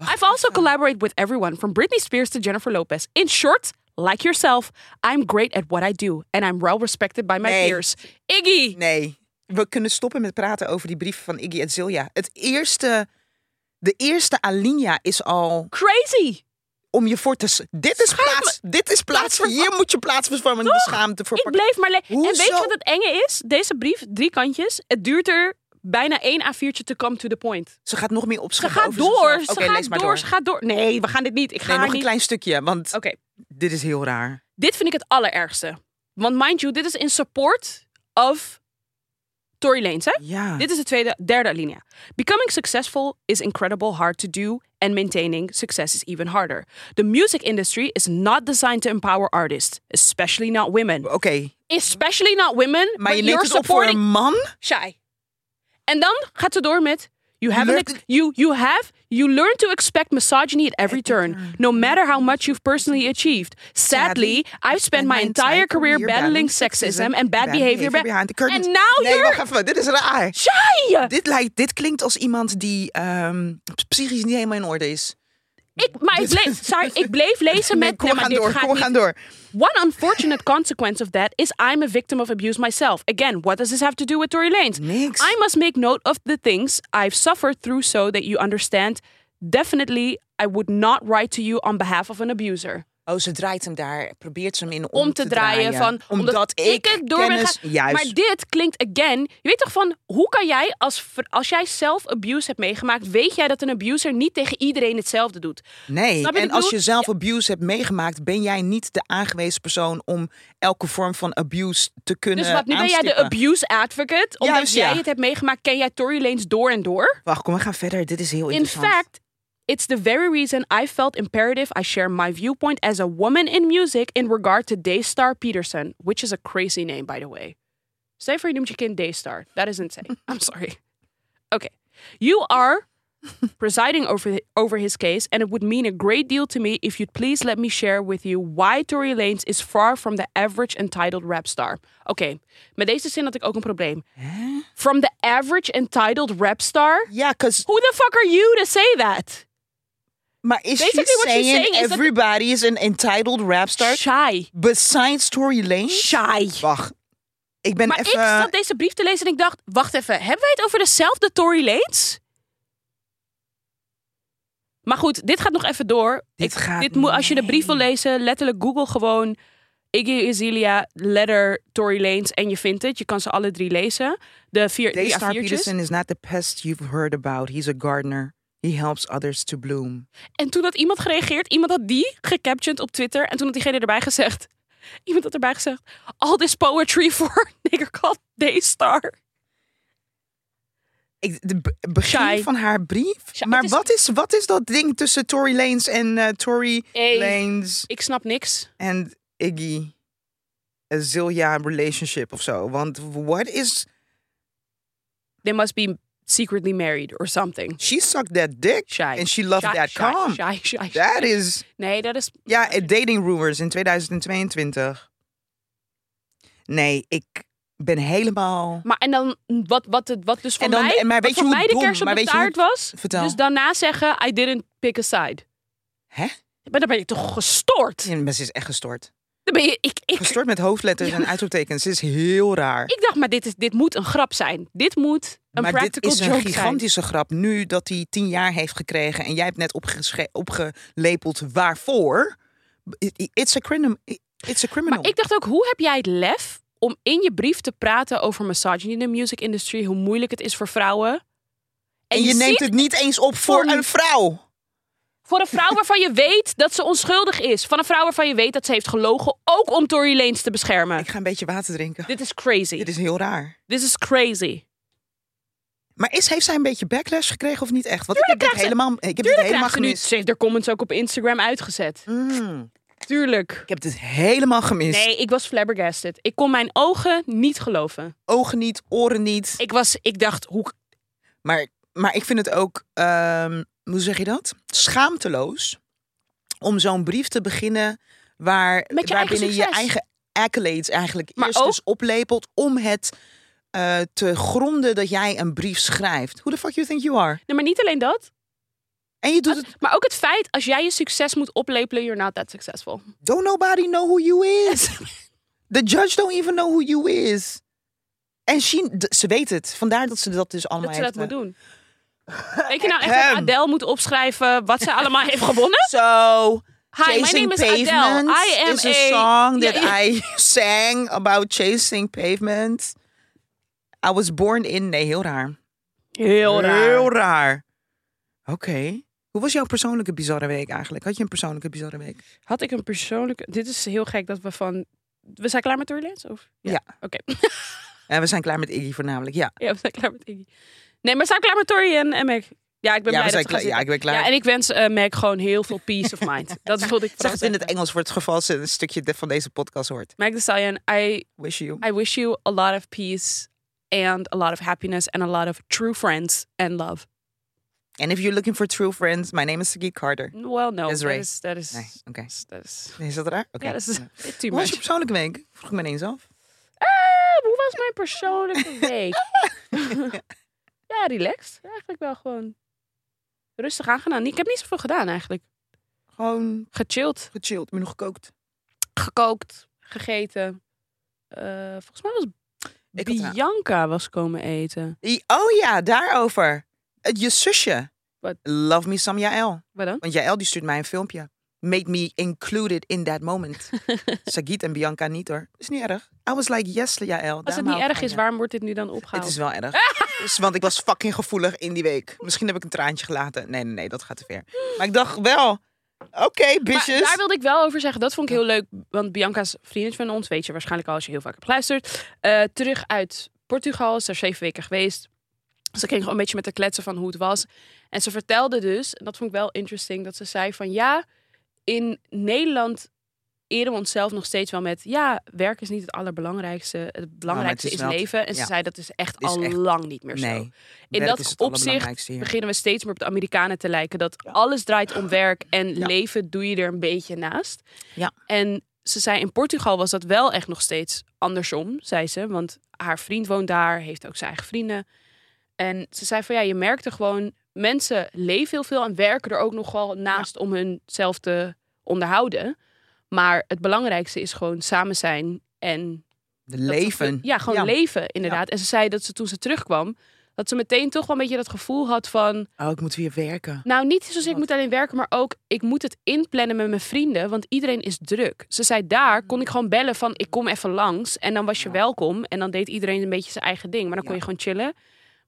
Speaker 1: I've also collaborated with everyone from Britney Spears to Jennifer Lopez. In short, like yourself, I'm great at what I do and I'm well respected by my
Speaker 2: Nee.
Speaker 1: peers. Iggy.
Speaker 2: Nee, we kunnen stoppen met praten over die brieven van Iggy Azalea. Het eerste, de eerste alinea is al
Speaker 1: Crazy.
Speaker 2: om je voor te... s- Dit is
Speaker 1: Schaam-
Speaker 2: plaats, dit is plaats,
Speaker 1: plaatsverva-
Speaker 2: hier moet je plaatsvervangende schaamte voor
Speaker 1: Ik
Speaker 2: pakken.
Speaker 1: bleef maar le- En weet je
Speaker 2: Hoezo?
Speaker 1: wat het enge is? Deze brief, drie kantjes, het duurt er bijna één A4'tje to come to the point.
Speaker 2: Ze gaat nog meer
Speaker 1: Ze
Speaker 2: opschrijven
Speaker 1: gaat
Speaker 2: over
Speaker 1: door,
Speaker 2: zichzelf.
Speaker 1: ze
Speaker 2: Oké, lees
Speaker 1: gaat
Speaker 2: maar
Speaker 1: door, ze gaat door. Nee, we gaan dit niet. Ik ga
Speaker 2: Nee,
Speaker 1: haar
Speaker 2: nog een
Speaker 1: niet.
Speaker 2: klein stukje, want
Speaker 1: Oké,
Speaker 2: dit is heel raar.
Speaker 1: dit vind ik het allerergste. Want mind you, dit is in support of Tory Lanez, hè?
Speaker 2: Ja.
Speaker 1: Dit is de tweede, derde alinea. Becoming successful is incredible hard to do, and maintaining success is even harder. The music industry is not designed to empower artists, especially not women.
Speaker 2: Oké,
Speaker 1: Especially not women.
Speaker 2: maar
Speaker 1: but
Speaker 2: je neemt
Speaker 1: you're
Speaker 2: het op voor
Speaker 1: supporting
Speaker 2: een man?
Speaker 1: shy. En dan gaat ze door met you have an
Speaker 2: Learn-
Speaker 1: ex- you you have you learn to expect misogyny at every turn, no matter how much you've personally achieved. Sadly, I've spent my entire career battling sexism and bad behavior. ba-
Speaker 2: behind the curtains.
Speaker 1: And now
Speaker 2: nee,
Speaker 1: you're
Speaker 2: wacht even, dit is raar.
Speaker 1: shy.
Speaker 2: Dit, lijkt, dit klinkt als iemand die ehm, psychisch niet helemaal in orde is.
Speaker 1: Ik, maar ik bleef, sorry, ik bleef lezen met.
Speaker 2: Nee, kom,
Speaker 1: nee,
Speaker 2: we
Speaker 1: maar
Speaker 2: gaan
Speaker 1: dit
Speaker 2: door,
Speaker 1: gaat
Speaker 2: kom, we
Speaker 1: niet-
Speaker 2: gaan door.
Speaker 1: One unfortunate consequence of that is I'm a victim of abuse myself. Again, what does this have to do with Tory Lanez?
Speaker 2: Niks.
Speaker 1: I must make note of the things I've suffered through so that you understand. Definitely, I would not write to you on behalf of an abuser.
Speaker 2: Oh, ze draait hem daar, probeert ze hem in om,
Speaker 1: Om te, draaien, van
Speaker 2: Omdat, ik
Speaker 1: het door ben
Speaker 2: kennis,
Speaker 1: gaan-
Speaker 2: Juist.
Speaker 1: Maar dit klinkt again. Je weet toch van hoe kan jij als vr- als jij zelf abuse hebt meegemaakt, weet jij dat een abuser niet tegen iedereen hetzelfde doet.
Speaker 2: nee,
Speaker 1: Snap je wat
Speaker 2: en
Speaker 1: ik
Speaker 2: als
Speaker 1: bedoel?
Speaker 2: je zelf abuse hebt meegemaakt, ben jij niet de aangewezen persoon om elke vorm van abuse te kunnen
Speaker 1: Dus wat nu ben jij de
Speaker 2: aanstippen.
Speaker 1: abuse advocate omdat
Speaker 2: Juist,
Speaker 1: jij
Speaker 2: ja.
Speaker 1: het hebt meegemaakt, ken jij Tory Lanez door en door?
Speaker 2: Wacht, kom, we gaan verder. Dit is heel
Speaker 1: In
Speaker 2: interessant.
Speaker 1: fact, it's the very reason I felt imperative I share my viewpoint as a woman in music in regard to Daystar Peterson, which is a crazy name, by the way. Say for je noemt je kind Daystar. That is insane. I'm sorry. Okay. You are presiding over, over his case, and it would mean a great deal to me if you'd please let me share with you why Tory Lanez is far from the average entitled rap star. Oké, met deze zin had ik ook een probleem. From the average entitled rap star?
Speaker 2: Ja, 'cause-
Speaker 1: Who the fuck are you to say that?
Speaker 2: maar is she
Speaker 1: Basically what she's
Speaker 2: saying,
Speaker 1: saying is dat-
Speaker 2: everybody is an entitled rap star
Speaker 1: Shy.
Speaker 2: besides Tory Lanez?
Speaker 1: Shy.
Speaker 2: Wacht, ik ben
Speaker 1: Maar
Speaker 2: even...
Speaker 1: ik zat deze brief te lezen en ik dacht, wacht even, hebben wij het over dezelfde Tory Lanez? Maar goed, dit gaat nog even door.
Speaker 2: Dit gaat-
Speaker 1: dit moet, als je de brief wil
Speaker 2: nee.
Speaker 1: lezen, letterlijk Google gewoon Iggy Azalea, letter Tory Lanez en je vindt het. Je kan ze alle drie lezen. De vier, drie
Speaker 2: Daystar
Speaker 1: A4'tjes.
Speaker 2: Peterson is not the pest you've heard about. He's a gardener. He helps others to bloom.
Speaker 1: En toen had iemand gereageerd, iemand had die gecaptioned op Twitter. En toen had diegene erbij gezegd, iemand had erbij gezegd, all this poetry for a nigger called Daystar.
Speaker 2: Ik, de b- begin
Speaker 1: Shy.
Speaker 2: van haar brief.
Speaker 1: Shy,
Speaker 2: maar
Speaker 1: het is-
Speaker 2: wat, is, wat is dat ding tussen Tory Lanez en eh, Tory
Speaker 1: Hey.
Speaker 2: Lanez
Speaker 1: Ik snap niks.
Speaker 2: en Iggy Azalea relationship of zo? Want what is...
Speaker 1: They must be secretly married or something.
Speaker 2: She sucked that dick
Speaker 1: Shy.
Speaker 2: and she loved
Speaker 1: Shy,
Speaker 2: that
Speaker 1: shy,
Speaker 2: cum.
Speaker 1: Shy, shy, shy.
Speaker 2: That is...
Speaker 1: Nee, dat is...
Speaker 2: Ja, eh, dating rumors in 2022. Nee, ik ben helemaal...
Speaker 1: Maar en dan, wat, wat, het- wat dus voor
Speaker 2: En dan-
Speaker 1: mij,
Speaker 2: en maar
Speaker 1: wat
Speaker 2: weet je
Speaker 1: voor
Speaker 2: hoe
Speaker 1: mij de
Speaker 2: dom-
Speaker 1: kerst op
Speaker 2: maar
Speaker 1: de
Speaker 2: weet je hoe-
Speaker 1: taart was,
Speaker 2: Vertel.
Speaker 1: dus daarna zeggen, I didn't pick a side.
Speaker 2: Hè?
Speaker 1: Maar dan ben je toch gestoord?
Speaker 2: Ja, maar Ze is echt gestort.
Speaker 1: Dan ben je, ik, ik,
Speaker 2: Gestort met hoofdletters en uitroeptekens. Dit is heel raar.
Speaker 1: ik dacht, maar dit, is, dit moet een grap zijn. Dit moet een
Speaker 2: maar dit
Speaker 1: practical
Speaker 2: is een
Speaker 1: joke zijn.
Speaker 2: gigantische grap. Nu dat hij tien jaar heeft gekregen en jij hebt net opgesche- opgelepeld waarvoor. I- It's a, criminal. It's a criminal.
Speaker 1: Maar ik dacht ook, hoe heb jij het lef om in je brief te praten over misogyny in de music industry, hoe moeilijk het is voor vrouwen? En,
Speaker 2: en je, neemt
Speaker 1: ziet
Speaker 2: het niet eens op voor
Speaker 1: Voor-
Speaker 2: een vrouw.
Speaker 1: voor een vrouw waarvan je weet dat ze onschuldig is, van een vrouw waarvan je weet dat ze heeft gelogen, ook om Tory Lanez te beschermen.
Speaker 2: Ik ga een beetje water drinken.
Speaker 1: Dit is crazy.
Speaker 2: Dit is heel raar.
Speaker 1: This is crazy.
Speaker 2: Maar is, heeft zij een beetje backlash gekregen of niet echt? Want ik heb dit
Speaker 1: krijgt ze-
Speaker 2: helemaal, ik heb dit
Speaker 1: Tuurlijk
Speaker 2: helemaal
Speaker 1: krijgt ze nu.
Speaker 2: gemist.
Speaker 1: Ze heeft haar comments ook op Instagram uitgezet.
Speaker 2: Mm.
Speaker 1: Tuurlijk.
Speaker 2: Ik heb dit helemaal gemist.
Speaker 1: Nee, ik was flabbergasted. Ik kon mijn ogen niet geloven.
Speaker 2: Ogen niet, oren niet.
Speaker 1: Ik was, ik dacht, hoe?
Speaker 2: Maar, maar ik vind het ook, ehm, hoe zeg je dat? Schaamteloos om zo'n brief te beginnen waar,
Speaker 1: Met je eigen
Speaker 2: waarbinnen je
Speaker 1: succes.
Speaker 2: eigen accolades eigenlijk
Speaker 1: Maar
Speaker 2: eerst
Speaker 1: ook-
Speaker 2: dus oplepelt om het eh, te gronden dat jij een brief schrijft. Who the fuck you think you are?
Speaker 1: Nee, maar niet alleen dat.
Speaker 2: En je doet het.
Speaker 1: Maar ook het feit, als jij je succes moet oplepelen, you're not that successful.
Speaker 2: Don't nobody know who you is. The judge don't even know who you is. En she, d- ze weet het. Vandaar dat ze dat dus allemaal
Speaker 1: dat ze
Speaker 2: heeft
Speaker 1: dat moet
Speaker 2: gedaan.
Speaker 1: doen. Weet je nou echt dat
Speaker 2: Ahem.
Speaker 1: Adele moet opschrijven wat ze allemaal heeft gewonnen?
Speaker 2: So,
Speaker 1: Hi, my
Speaker 2: Chasing
Speaker 1: name is Adele.
Speaker 2: Pavement
Speaker 1: I am
Speaker 2: is
Speaker 1: a,
Speaker 2: a, song
Speaker 1: Ja,
Speaker 2: that
Speaker 1: ja.
Speaker 2: I sang about chasing pavement. I was born in... Nee, heel raar.
Speaker 1: Heel raar.
Speaker 2: Heel raar. Oké. Hoe was jouw persoonlijke bizarre week eigenlijk? Had je een persoonlijke bizarre week?
Speaker 1: Had ik een persoonlijke... Dit is heel gek dat we van... We zijn klaar met Tourlens? Of?
Speaker 2: Ja.
Speaker 1: Oké.
Speaker 2: En Eh, we zijn klaar met Iggy voornamelijk. Ja,
Speaker 1: Ja, we zijn klaar met Iggy. Nee, maar we zijn klaar met Tori en, en Meg. Ja, ik ben blij
Speaker 2: ja, we
Speaker 1: dat
Speaker 2: zijn
Speaker 1: ze gaan
Speaker 2: klaar. ja
Speaker 1: zitten.
Speaker 2: ik ben klaar.
Speaker 1: Ja, en ik wens eh, Meg gewoon heel veel peace of mind. Dat voelde ik
Speaker 2: zeg
Speaker 1: vooral
Speaker 2: het in het
Speaker 1: zeggen.
Speaker 2: Engels voor het geval ze een stukje de- van deze podcast hoort.
Speaker 1: Meg Thee Stallion, I,
Speaker 2: Wish you.
Speaker 1: I wish you a lot of peace and a lot of happiness and a lot of true friends and love.
Speaker 2: And if you're looking for true friends, my name is Sagi Carter.
Speaker 1: Well, no.
Speaker 2: Is
Speaker 1: Dat
Speaker 2: Ray.
Speaker 1: is... Dat is,
Speaker 2: Nee, oké.
Speaker 1: dat is
Speaker 2: Is dat raar? Oké.
Speaker 1: Ja, dat is
Speaker 2: Hoe
Speaker 1: bit too
Speaker 2: was je
Speaker 1: much.
Speaker 2: persoonlijke week? Vroeg ik me ineens af.
Speaker 1: Eh, hoe was mijn persoonlijke week? ja, relaxed. Eigenlijk wel gewoon rustig aangedaan. Ik heb niet zoveel gedaan eigenlijk.
Speaker 2: Gewoon
Speaker 1: Gechilled,
Speaker 2: gechilled, maar nog gekookt.
Speaker 1: gekookt, gegeten. Eh, volgens mij was
Speaker 2: Ik had eraan.
Speaker 1: Bianca was komen eten.
Speaker 2: I- Oh ja, daarover. Eh, Je zusje.
Speaker 1: Wat?
Speaker 2: Love me some Jael.
Speaker 1: Wat dan?
Speaker 2: Want Jael die stuurt mij een filmpje. Made me included in that moment. Sagit en Bianca niet hoor. Is niet erg. I was like, yes Jael.
Speaker 1: Als het niet erg is, waarom wordt dit nu dan opgehaald?
Speaker 2: Het is wel erg. dus, want ik was fucking gevoelig in die week. Misschien heb ik een traantje gelaten. Nee, nee, nee, dat gaat te ver. Maar ik dacht wel, oké,
Speaker 1: Maar
Speaker 2: bitches.
Speaker 1: daar wilde ik wel over zeggen. Dat vond ik heel leuk. Want Bianca's vriendin van ons, weet je waarschijnlijk al als je heel vaak hebt geluisterd. eh, terug uit Portugal, is daar zeven weken geweest. Ze ging gewoon een beetje met haar kletsen van hoe het was. En ze vertelde dus, en dat vond ik wel interesting, dat ze zei van ja, in Nederland eren we onszelf nog steeds wel met ja, werk is niet het allerbelangrijkste. Het belangrijkste
Speaker 2: Nou, is
Speaker 1: is,
Speaker 2: wel-
Speaker 1: leven. En ze
Speaker 2: ja.
Speaker 1: zei dat is echt
Speaker 2: Is
Speaker 1: al
Speaker 2: echt-
Speaker 1: lang niet meer zo.
Speaker 2: Nee,
Speaker 1: In
Speaker 2: werk
Speaker 1: dat
Speaker 2: is
Speaker 1: opzicht
Speaker 2: het allerbelangrijkste hier.
Speaker 1: beginnen we steeds meer op de Amerikanen te lijken. Dat alles draait om werk en
Speaker 2: Ja.
Speaker 1: leven doe je er een beetje naast.
Speaker 2: Ja.
Speaker 1: En ze zei in Portugal was dat wel echt nog steeds andersom, zei ze. Want haar vriend woont daar, heeft ook zijn eigen vrienden. En ze zei van ja, je merkte gewoon, mensen leven heel veel en werken er ook nog wel naast om hunzelf te onderhouden. Maar het belangrijkste is gewoon samen zijn en
Speaker 2: De
Speaker 1: dat ze-
Speaker 2: leven.
Speaker 1: Ja, gewoon leven inderdaad. En ze zei dat ze toen ze terugkwam, dat ze meteen toch wel een beetje dat gevoel had van...
Speaker 2: Oh, ik moet weer werken.
Speaker 1: Nou, niet zozeer ik
Speaker 2: Wat?
Speaker 1: moet alleen werken, maar ook ik moet het inplannen met mijn vrienden, want iedereen is druk. Ze zei daar kon ik gewoon bellen van ik kom even langs en dan was je
Speaker 2: Mm. Ja.
Speaker 1: welkom. En dan deed iedereen een beetje zijn eigen ding, maar dan kon
Speaker 2: Ja.
Speaker 1: je gewoon chillen.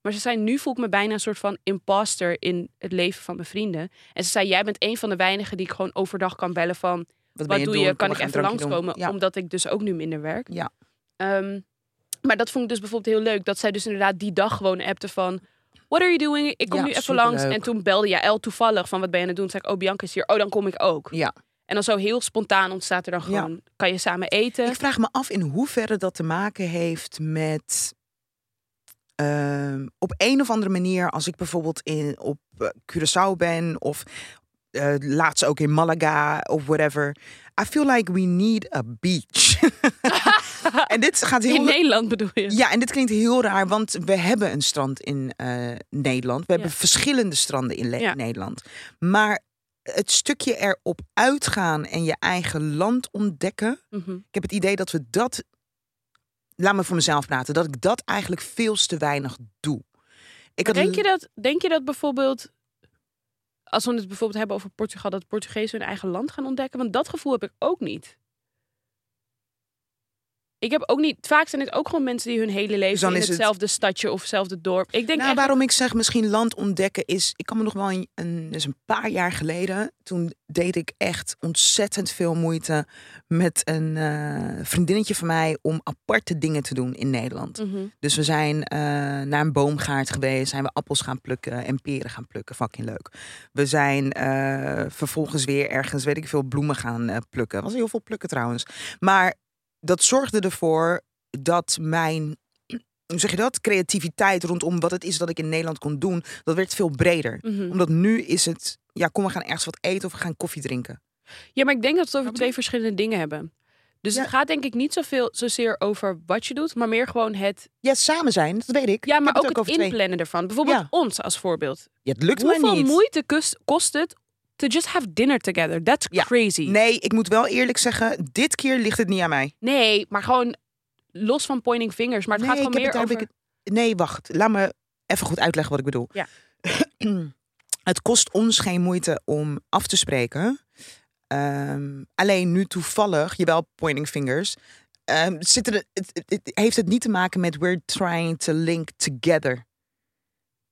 Speaker 1: Maar ze zei, nu voel ik me bijna een soort van imposter in het leven van mijn vrienden. En ze zei, jij bent een van de weinigen die ik gewoon overdag kan bellen van...
Speaker 2: Wat, ben
Speaker 1: Wat doe
Speaker 2: aan het doen?
Speaker 1: je?
Speaker 2: Kom,
Speaker 1: Kan ik
Speaker 2: we gaan
Speaker 1: even
Speaker 2: een drankje doen.
Speaker 1: langskomen?
Speaker 2: Ja.
Speaker 1: Omdat ik dus ook nu minder werk.
Speaker 2: Ja.
Speaker 1: Ehm, maar dat vond ik dus bijvoorbeeld heel leuk. Dat zij dus inderdaad die dag gewoon appte van... What are you doing? Ik kom
Speaker 2: Ja,
Speaker 1: nu even
Speaker 2: superleuk.
Speaker 1: langs. En toen belde Jaël toevallig van wat ben je aan het doen? Toen zei ik, oh Bianca is hier. Oh, dan kom ik ook.
Speaker 2: Ja.
Speaker 1: En dan zo heel spontaan ontstaat er dan
Speaker 2: Ja.
Speaker 1: gewoon... Kan je samen eten?
Speaker 2: Ik vraag me af in hoeverre dat te maken heeft met. ehm, op een of andere manier, als ik bijvoorbeeld in, op eh, Curaçao ben of eh, laatst ook in Malaga of whatever. I feel like we need a beach. en dit gaat heel
Speaker 1: in Nederland bedoel je?
Speaker 2: ja, en dit klinkt heel raar, want we hebben een strand in eh, Nederland. We hebben
Speaker 1: Ja.
Speaker 2: verschillende stranden in Le-
Speaker 1: Ja.
Speaker 2: Nederland. Maar het stukje erop uitgaan en je eigen land ontdekken.
Speaker 1: Mhm.
Speaker 2: Ik heb het idee dat we dat. Laat me voor mezelf praten. Dat ik dat eigenlijk veel te weinig doe. Ik had
Speaker 1: Denk, je dat, denk je dat bijvoorbeeld... Als we het bijvoorbeeld hebben over Portugal... Dat Portugezen hun eigen land gaan ontdekken? Want dat gevoel heb ik ook niet. Ik heb ook niet... Vaak zijn het ook gewoon mensen die hun hele leven...
Speaker 2: dan
Speaker 1: in
Speaker 2: is het-
Speaker 1: hetzelfde stadje of hetzelfde dorp... Ik denk
Speaker 2: Nou,
Speaker 1: echt
Speaker 2: waarom ik zeg misschien land ontdekken is. Ik kan me nog wel een, een, dus een paar jaar geleden. Toen deed ik echt ontzettend veel moeite met een eh, vriendinnetje van mij om aparte dingen te doen in Nederland.
Speaker 1: Mhm.
Speaker 2: Dus we zijn eh, naar een boomgaard geweest, zijn we appels gaan plukken en peren gaan plukken. Fucking leuk. We zijn eh, vervolgens weer ergens, weet ik veel, bloemen gaan eh, plukken. Was heel veel plukken trouwens. Maar dat zorgde ervoor dat mijn, hoe zeg je dat, creativiteit rondom wat het is dat ik in Nederland kon doen, dat werd veel breder.
Speaker 1: Mhm.
Speaker 2: Omdat nu is het, ja, kom we gaan ergens wat eten of we gaan koffie drinken.
Speaker 1: Ja, maar ik denk dat we het over twee verschillende dingen hebben. Dus
Speaker 2: Ja.
Speaker 1: het gaat denk ik niet zoveel, zozeer over wat je doet, maar meer gewoon het.
Speaker 2: Ja, samen zijn, dat weet ik.
Speaker 1: Ja,
Speaker 2: Ik
Speaker 1: maar
Speaker 2: heb
Speaker 1: ook het,
Speaker 2: over twee.
Speaker 1: inplannen ervan. Bijvoorbeeld
Speaker 2: Ja.
Speaker 1: ons als voorbeeld.
Speaker 2: Ja, het lukt
Speaker 1: Hoeveel
Speaker 2: me niet.
Speaker 1: moeite kost, kost het to just have dinner together? That's
Speaker 2: Ja.
Speaker 1: crazy.
Speaker 2: Nee, ik moet wel eerlijk zeggen, dit keer ligt het niet aan mij.
Speaker 1: Nee, maar gewoon los van pointing fingers. Maar het
Speaker 2: nee,
Speaker 1: gaat gewoon
Speaker 2: ik heb
Speaker 1: meer
Speaker 2: het-
Speaker 1: over...
Speaker 2: heb ik het- nee, wacht. Laat me even goed uitleggen wat ik bedoel.
Speaker 1: Ja.
Speaker 2: het kost ons geen moeite om af te spreken. Ehm, alleen nu toevallig, jawel, pointing fingers. ehm, zitten er, het, het- het heeft het niet te maken met we're trying to link together.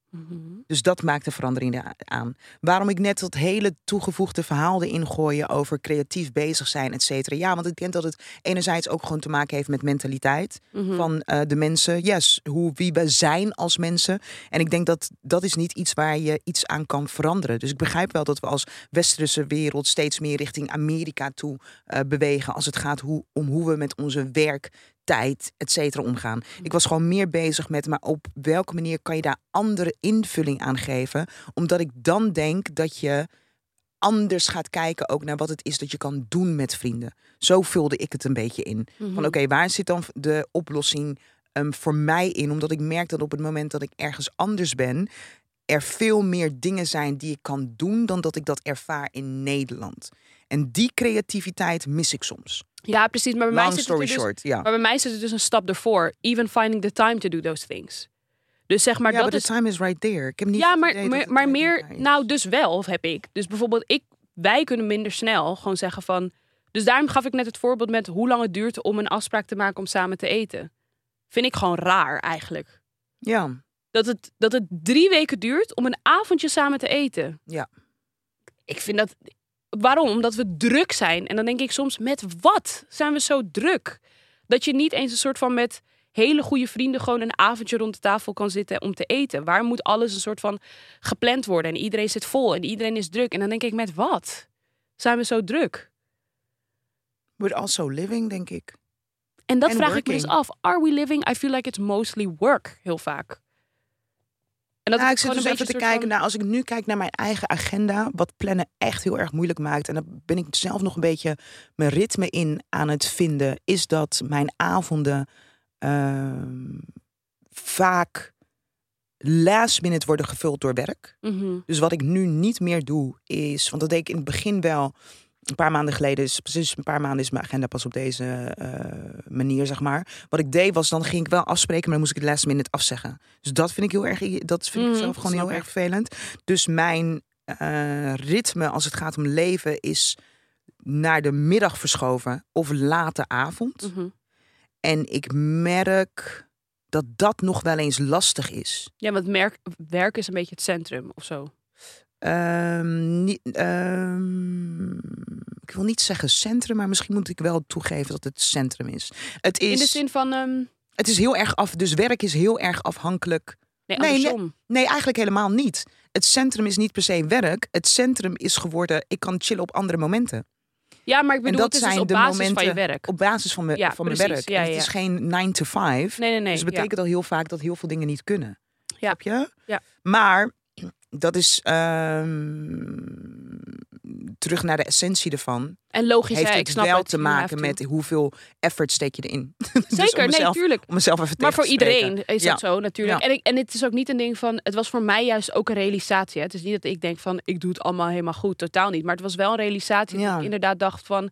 Speaker 1: Mhm.
Speaker 2: Dus dat maakt de verandering a- aan. Waarom ik net dat hele toegevoegde verhaal erin gooien over creatief bezig zijn, et cetera. Ja, want ik denk dat het enerzijds ook gewoon te maken heeft met mentaliteit
Speaker 1: Mhm.
Speaker 2: van eh, de mensen. Yes, hoe, wie we zijn als mensen. En ik denk dat dat is niet iets waar je iets aan kan veranderen. Dus ik begrijp wel dat we als westerse wereld steeds meer richting Amerika toe eh, bewegen. Als het gaat hoe, om hoe we met onze werktijd, et cetera, omgaan. Ik was gewoon meer bezig met, maar op welke manier kan je daar andere invulling aan geven? Omdat ik dan denk dat je anders gaat kijken ook naar wat het is dat je kan doen met vrienden. Zo vulde ik het een beetje in.
Speaker 1: Mhm.
Speaker 2: Van oké, waar zit dan de oplossing ehm, voor mij in? Omdat ik merk dat op het moment dat ik ergens anders ben, er veel meer dingen zijn die ik kan doen dan dat ik dat ervaar in Nederland. En die creativiteit mis ik soms.
Speaker 1: Ja, precies. Maar bij, mij
Speaker 2: Long
Speaker 1: zit het er
Speaker 2: story
Speaker 1: dus,
Speaker 2: short, ja.
Speaker 1: maar bij mij zit het dus een stap ervoor. Even finding the time to do those things. Dus zeg maar,
Speaker 2: ja,
Speaker 1: dat
Speaker 2: but
Speaker 1: is...
Speaker 2: the time is right there. Ik heb niet
Speaker 1: Ja,
Speaker 2: het
Speaker 1: maar,
Speaker 2: idee dat
Speaker 1: maar,
Speaker 2: het
Speaker 1: maar
Speaker 2: tijd
Speaker 1: meer,
Speaker 2: niet daar is.
Speaker 1: nou dus wel heb ik. Dus bijvoorbeeld ik, wij kunnen minder snel gewoon zeggen van... Dus daarom gaf ik net het voorbeeld met hoe lang het duurt om een afspraak te maken om samen te eten. Vind ik gewoon raar eigenlijk.
Speaker 2: Ja,
Speaker 1: Dat het, dat het drie weken duurt om een avondje samen te eten.
Speaker 2: Ja.
Speaker 1: Ik vind dat... Waarom? Omdat we druk zijn. En dan denk ik soms, met wat zijn we zo druk? Dat je niet eens een soort van met hele goede vrienden gewoon een avondje rond de tafel kan zitten om te eten. Waar moet alles een soort van gepland worden? En iedereen zit vol en iedereen is druk. En dan denk ik, met wat zijn we zo druk?
Speaker 2: we're also living, denk ik.
Speaker 1: En dat
Speaker 2: En
Speaker 1: vraag ik me dus
Speaker 2: working.
Speaker 1: af. Are we living? I feel like it's mostly work, heel vaak. En dat
Speaker 2: Nou, ik
Speaker 1: het
Speaker 2: zit
Speaker 1: gewoon
Speaker 2: dus
Speaker 1: een
Speaker 2: even te
Speaker 1: beetje een soort
Speaker 2: kijken
Speaker 1: van-
Speaker 2: naar, als ik nu kijk naar mijn eigen agenda, wat plannen echt heel erg moeilijk maakt. En daar ben ik zelf nog een beetje mijn ritme in aan het vinden. Is dat mijn avonden ehm, vaak last minute worden gevuld door werk.
Speaker 1: Mhm.
Speaker 2: Dus wat ik nu niet meer doe is, want dat deed ik in het begin wel. Een paar maanden geleden, is, precies een paar maanden is mijn agenda pas op deze eh, manier, zeg maar. Wat ik deed was, dan ging ik wel afspreken, maar dan moest ik het last minute afzeggen. Dus dat vind ik heel erg, dat vind
Speaker 1: Mhm,
Speaker 2: ik zelf gewoon
Speaker 1: snap
Speaker 2: heel
Speaker 1: ik.
Speaker 2: erg vervelend. Dus mijn eh, ritme als het gaat om leven is naar de middag verschoven of late avond.
Speaker 1: Mhm.
Speaker 2: En ik merk dat dat nog wel eens lastig is.
Speaker 1: Ja, want merk, werk is een beetje het centrum of zo.
Speaker 2: Ehm, niet, ehm, ik wil niet zeggen centrum, maar misschien moet ik wel toegeven dat het centrum is. Het
Speaker 1: In de
Speaker 2: is,
Speaker 1: zin van. ehm,
Speaker 2: het is heel erg af, dus werk is heel erg afhankelijk.
Speaker 1: nee,
Speaker 2: nee.
Speaker 1: andersom.
Speaker 2: Nee, eigenlijk helemaal niet. Het centrum is niet per se werk. Het centrum is geworden, ik kan chillen op andere momenten.
Speaker 1: Ja, maar ik bedoel,
Speaker 2: dat
Speaker 1: het is dus
Speaker 2: zijn
Speaker 1: op
Speaker 2: de
Speaker 1: basis van je
Speaker 2: momenten
Speaker 1: werk.
Speaker 2: Op basis van mijn,
Speaker 1: Ja,
Speaker 2: van mijn
Speaker 1: precies.
Speaker 2: werk.
Speaker 1: Ja,
Speaker 2: En het
Speaker 1: ja.
Speaker 2: is geen 9 to 5.
Speaker 1: Nee, nee, nee.
Speaker 2: Dus dat
Speaker 1: ja.
Speaker 2: betekent al heel vaak dat heel veel dingen niet kunnen.
Speaker 1: Ja.
Speaker 2: Snap je?
Speaker 1: Ja.
Speaker 2: Maar dat is ehm, terug naar de essentie ervan.
Speaker 1: En logisch,
Speaker 2: heeft
Speaker 1: hè,
Speaker 2: het
Speaker 1: ik snap
Speaker 2: wel
Speaker 1: het.
Speaker 2: te
Speaker 1: You have
Speaker 2: maken
Speaker 1: to.
Speaker 2: met hoeveel effort steek je erin. Dus
Speaker 1: Zeker,
Speaker 2: om
Speaker 1: nee,
Speaker 2: mezelf,
Speaker 1: tuurlijk.
Speaker 2: om mezelf even
Speaker 1: Maar
Speaker 2: tegen
Speaker 1: voor
Speaker 2: te spreken.
Speaker 1: iedereen is dat zo natuurlijk.
Speaker 2: Ja.
Speaker 1: En, ik, en het is ook niet een ding van. Het was voor mij juist ook een realisatie. Hè. Het is niet dat ik denk van ik doe het allemaal helemaal goed. Totaal niet. Maar het was wel een realisatie. Dat
Speaker 2: Ja.
Speaker 1: ik inderdaad dacht van.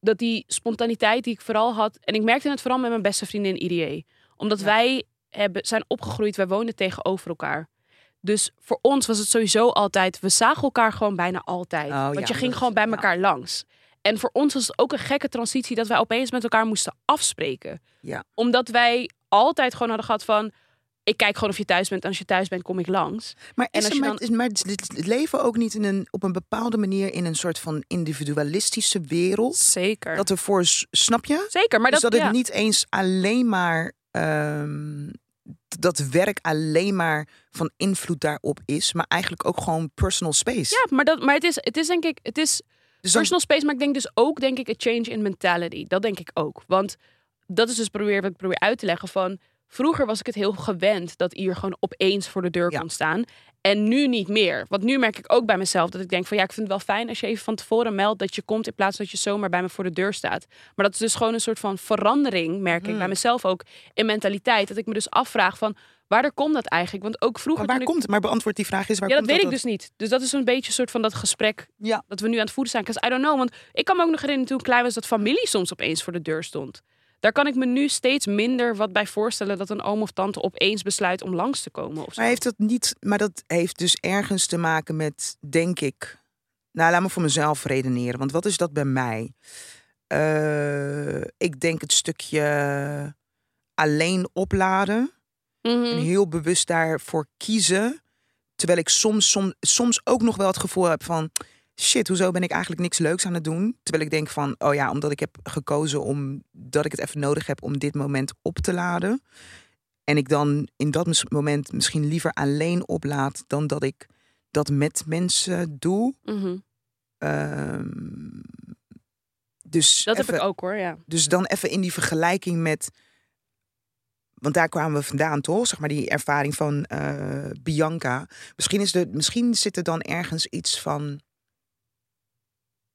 Speaker 1: Dat die spontaniteit die ik vooral had. En ik merkte het vooral met mijn beste vriendin IDA. Omdat
Speaker 2: Ja.
Speaker 1: wij hebben, zijn opgegroeid, wij woonden tegenover elkaar. Dus voor ons was het sowieso altijd. We zagen elkaar gewoon bijna altijd.
Speaker 2: Oh,
Speaker 1: Want
Speaker 2: ja,
Speaker 1: je ging
Speaker 2: dat-
Speaker 1: gewoon bij
Speaker 2: ja.
Speaker 1: elkaar langs. En voor ons was het ook een gekke transitie dat wij opeens met elkaar moesten afspreken omdat wij altijd gewoon hadden gehad van... ik kijk gewoon of je thuis bent. En als je thuis bent, kom ik langs.
Speaker 2: Maar,
Speaker 1: En
Speaker 2: is
Speaker 1: als
Speaker 2: er
Speaker 1: je
Speaker 2: maar,
Speaker 1: dan-
Speaker 2: is- maar is dit- het leven ook niet in een, op een bepaalde manier in een soort van individualistische wereld?
Speaker 1: Zeker.
Speaker 2: Dat er voor, s- snap je?
Speaker 1: Zeker, maar
Speaker 2: dus
Speaker 1: dat,
Speaker 2: dat het
Speaker 1: ja.
Speaker 2: niet eens alleen maar ehm, t- dat werk alleen maar van invloed daarop is, maar eigenlijk ook gewoon personal space.
Speaker 1: Ja, maar, dat, maar het, is, het is denk ik... Het is
Speaker 2: dus dan-
Speaker 1: personal space, maar ik denk dus ook denk ik... a change in mentality. Dat denk ik ook. Want dat is dus probeer, wat ik probeer uit te leggen van... Vroeger was ik het heel gewend dat Ier gewoon opeens voor de deur
Speaker 2: Ja.
Speaker 1: kon staan. En nu niet meer. Want nu merk ik ook bij mezelf dat ik denk van ja, ik vind het wel fijn als je even van tevoren meldt dat je komt in plaats dat je zomaar bij me voor de deur staat. Maar dat is dus gewoon een soort van verandering, merk
Speaker 2: Hmm.
Speaker 1: ik bij mezelf ook in mentaliteit. Dat ik me dus afvraag van waardoor komt dat eigenlijk? Want ook vroeger.
Speaker 2: Maar waar
Speaker 1: toen ik-
Speaker 2: komt Maar beantwoord die vraag is waar
Speaker 1: ja, dat
Speaker 2: komt
Speaker 1: weet ik dus niet. Dus dat is een beetje een soort van dat gesprek
Speaker 2: Ja.
Speaker 1: dat we nu aan het voeren zijn. Because I don't know, want ik kan me ook nog herinneren toen ik klein was dat familie soms opeens voor de deur stond. Daar kan ik me nu steeds minder wat bij voorstellen dat een oom of tante opeens besluit om langs te komen. Of zo.
Speaker 2: Maar heeft dat niet. Maar dat heeft dus ergens te maken met, denk ik. Nou, laat me voor mezelf redeneren. Want wat is dat bij mij? Eh, ik denk het stukje alleen opladen.
Speaker 1: Mhm.
Speaker 2: En heel bewust daarvoor kiezen. Terwijl ik soms, soms, soms ook nog wel het gevoel heb van... Shit, hoezo ben ik eigenlijk niks leuks aan het doen? Terwijl ik denk van, oh ja, omdat ik heb gekozen om... dat ik het even nodig heb om dit moment op te laden. En ik dan in dat mis- moment misschien liever alleen oplaad... dan dat ik dat met mensen doe.
Speaker 1: Mhm.
Speaker 2: Ehm, dus
Speaker 1: Dat
Speaker 2: even,
Speaker 1: heb ik ook hoor, ja.
Speaker 2: dus dan even in die vergelijking met. Want daar kwamen we vandaan, toch? Zeg maar die ervaring van eh, Bianca. Misschien, is de, misschien zit er dan ergens iets van.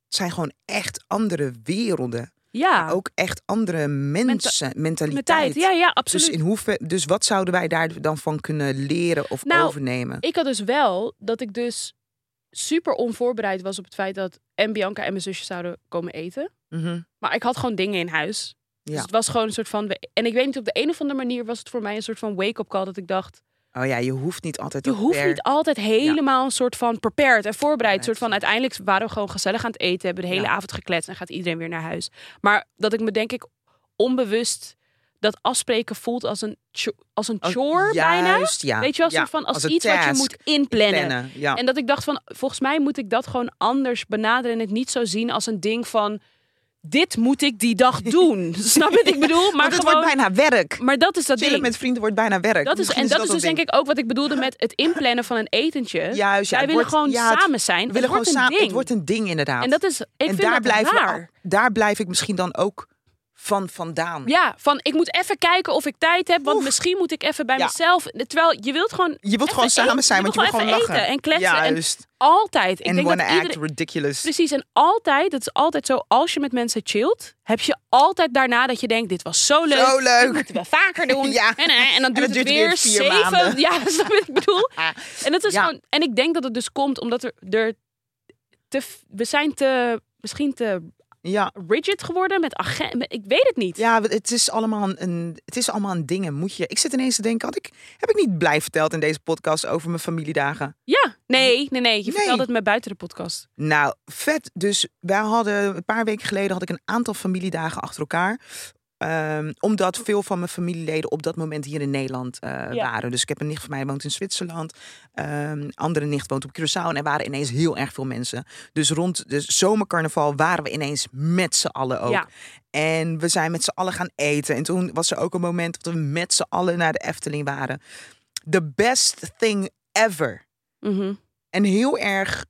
Speaker 2: Het zijn gewoon echt andere werelden.
Speaker 1: Ja,
Speaker 2: Ook echt andere mensen,
Speaker 1: met
Speaker 2: mentaliteit.
Speaker 1: tijd. Ja, ja, absoluut.
Speaker 2: dus, in hoever, dus wat zouden wij daar dan van kunnen leren of
Speaker 1: Nou,
Speaker 2: overnemen?
Speaker 1: Ik had dus wel dat ik dus super onvoorbereid was op het feit dat en Bianca en mijn zusje zouden komen eten.
Speaker 2: Mhm.
Speaker 1: Maar ik had gewoon dingen in huis.
Speaker 2: Ja.
Speaker 1: Dus het was gewoon een soort van... En ik weet niet, op de een of andere manier was het voor mij een soort van wake-up call. Dat ik dacht,
Speaker 2: Oh ja, je hoeft niet altijd.
Speaker 1: je
Speaker 2: ook
Speaker 1: hoeft
Speaker 2: per-
Speaker 1: niet altijd helemaal een soort van prepared en voorbereid. Een soort van,
Speaker 2: Right.
Speaker 1: uiteindelijk waren we gewoon gezellig aan het eten. Hebben de hele
Speaker 2: Ja.
Speaker 1: avond gekletst en gaat iedereen weer naar huis. Maar dat ik me denk ik onbewust dat afspreken voelt als een, cho- als een
Speaker 2: Als-
Speaker 1: chore bijna.
Speaker 2: Juist, ja.
Speaker 1: Weet je wel,
Speaker 2: ja,
Speaker 1: soort van als,
Speaker 2: een
Speaker 1: iets wat je
Speaker 2: task.
Speaker 1: moet inplannen.
Speaker 2: Plannen, ja.
Speaker 1: En dat ik dacht van, volgens mij moet ik dat gewoon anders benaderen en het niet zo zien als een ding van, dit moet ik die dag doen. Snap je wat ik bedoel? Maar,
Speaker 2: Maar het
Speaker 1: gewoon,
Speaker 2: wordt bijna werk.
Speaker 1: maar dat is dat
Speaker 2: Chillen
Speaker 1: ding.
Speaker 2: met vrienden wordt bijna werk.
Speaker 1: dat is,
Speaker 2: Misschien
Speaker 1: en dat, is
Speaker 2: wel
Speaker 1: dus denk
Speaker 2: ding.
Speaker 1: ik ook wat ik bedoelde met het inplannen van een etentje.
Speaker 2: Juist, ja,
Speaker 1: Wij
Speaker 2: het
Speaker 1: willen
Speaker 2: wordt-
Speaker 1: gewoon
Speaker 2: ja, het-
Speaker 1: samen zijn.
Speaker 2: We
Speaker 1: het
Speaker 2: willen gewoon
Speaker 1: wordt een
Speaker 2: samen.
Speaker 1: ding.
Speaker 2: Het wordt een ding inderdaad.
Speaker 1: En dat is, ik
Speaker 2: En
Speaker 1: vind
Speaker 2: daar
Speaker 1: dat
Speaker 2: blijven we
Speaker 1: raar.
Speaker 2: al- daar blijf ik misschien dan ook van vandaan.
Speaker 1: Ja, van ik moet even kijken of ik tijd heb, want
Speaker 2: Oef.
Speaker 1: misschien moet ik even bij
Speaker 2: Ja.
Speaker 1: mezelf. Terwijl je wilt gewoon
Speaker 2: Je wilt gewoon
Speaker 1: even
Speaker 2: samen
Speaker 1: eten.
Speaker 2: zijn,
Speaker 1: Je
Speaker 2: want je
Speaker 1: wil
Speaker 2: wil gewoon
Speaker 1: even
Speaker 2: lachen.
Speaker 1: eten en kletsen en-
Speaker 2: Juist.
Speaker 1: altijd. Ik
Speaker 2: En
Speaker 1: denk
Speaker 2: wanna
Speaker 1: dat
Speaker 2: act
Speaker 1: iedereen,
Speaker 2: ridiculous.
Speaker 1: Precies, en altijd, dat is altijd zo, als je met mensen chillt, heb je altijd daarna dat je denkt, dit was zo leuk.
Speaker 2: Zo leuk.
Speaker 1: Dit moeten we vaker doen.
Speaker 2: Ja.
Speaker 1: En, eh, en dan duurt
Speaker 2: dat
Speaker 1: het
Speaker 2: duurt
Speaker 1: weer,
Speaker 2: weer vier
Speaker 1: zeven.
Speaker 2: maanden.
Speaker 1: Ja, dat is wat ik bedoel.
Speaker 2: Ah,
Speaker 1: En, dat is
Speaker 2: Ja.
Speaker 1: gewoon, en ik denk dat het dus komt omdat er, er te, f- we zijn te, misschien te
Speaker 2: ja.
Speaker 1: rigid geworden met agenten. Ik weet het niet.
Speaker 2: Ja, het is allemaal een- een, het is allemaal een ding. en Moet je, ik zit ineens te denken, had ik, heb ik niet blij verteld in deze podcast over mijn familiedagen?
Speaker 1: Ja, nee, nee, nee. Je
Speaker 2: Nee.
Speaker 1: vertelde het me buiten de podcast.
Speaker 2: Nou, vet. Dus wij hadden een paar weken geleden had ik een aantal familiedagen achter elkaar. Ehm, omdat veel van mijn familieleden op dat moment hier in Nederland eh,
Speaker 1: Ja.
Speaker 2: waren. Dus ik heb een nicht van mij woont in Zwitserland. Ehm andere nicht woont op Curaçao. En er waren ineens heel erg veel mensen. Dus rond de zomercarnaval waren we ineens met z'n allen ook.
Speaker 1: Ja.
Speaker 2: En we zijn met z'n allen gaan eten. En toen was er ook een moment dat we met z'n allen naar de Efteling waren. The best thing ever.
Speaker 1: Mhm.
Speaker 2: En heel erg,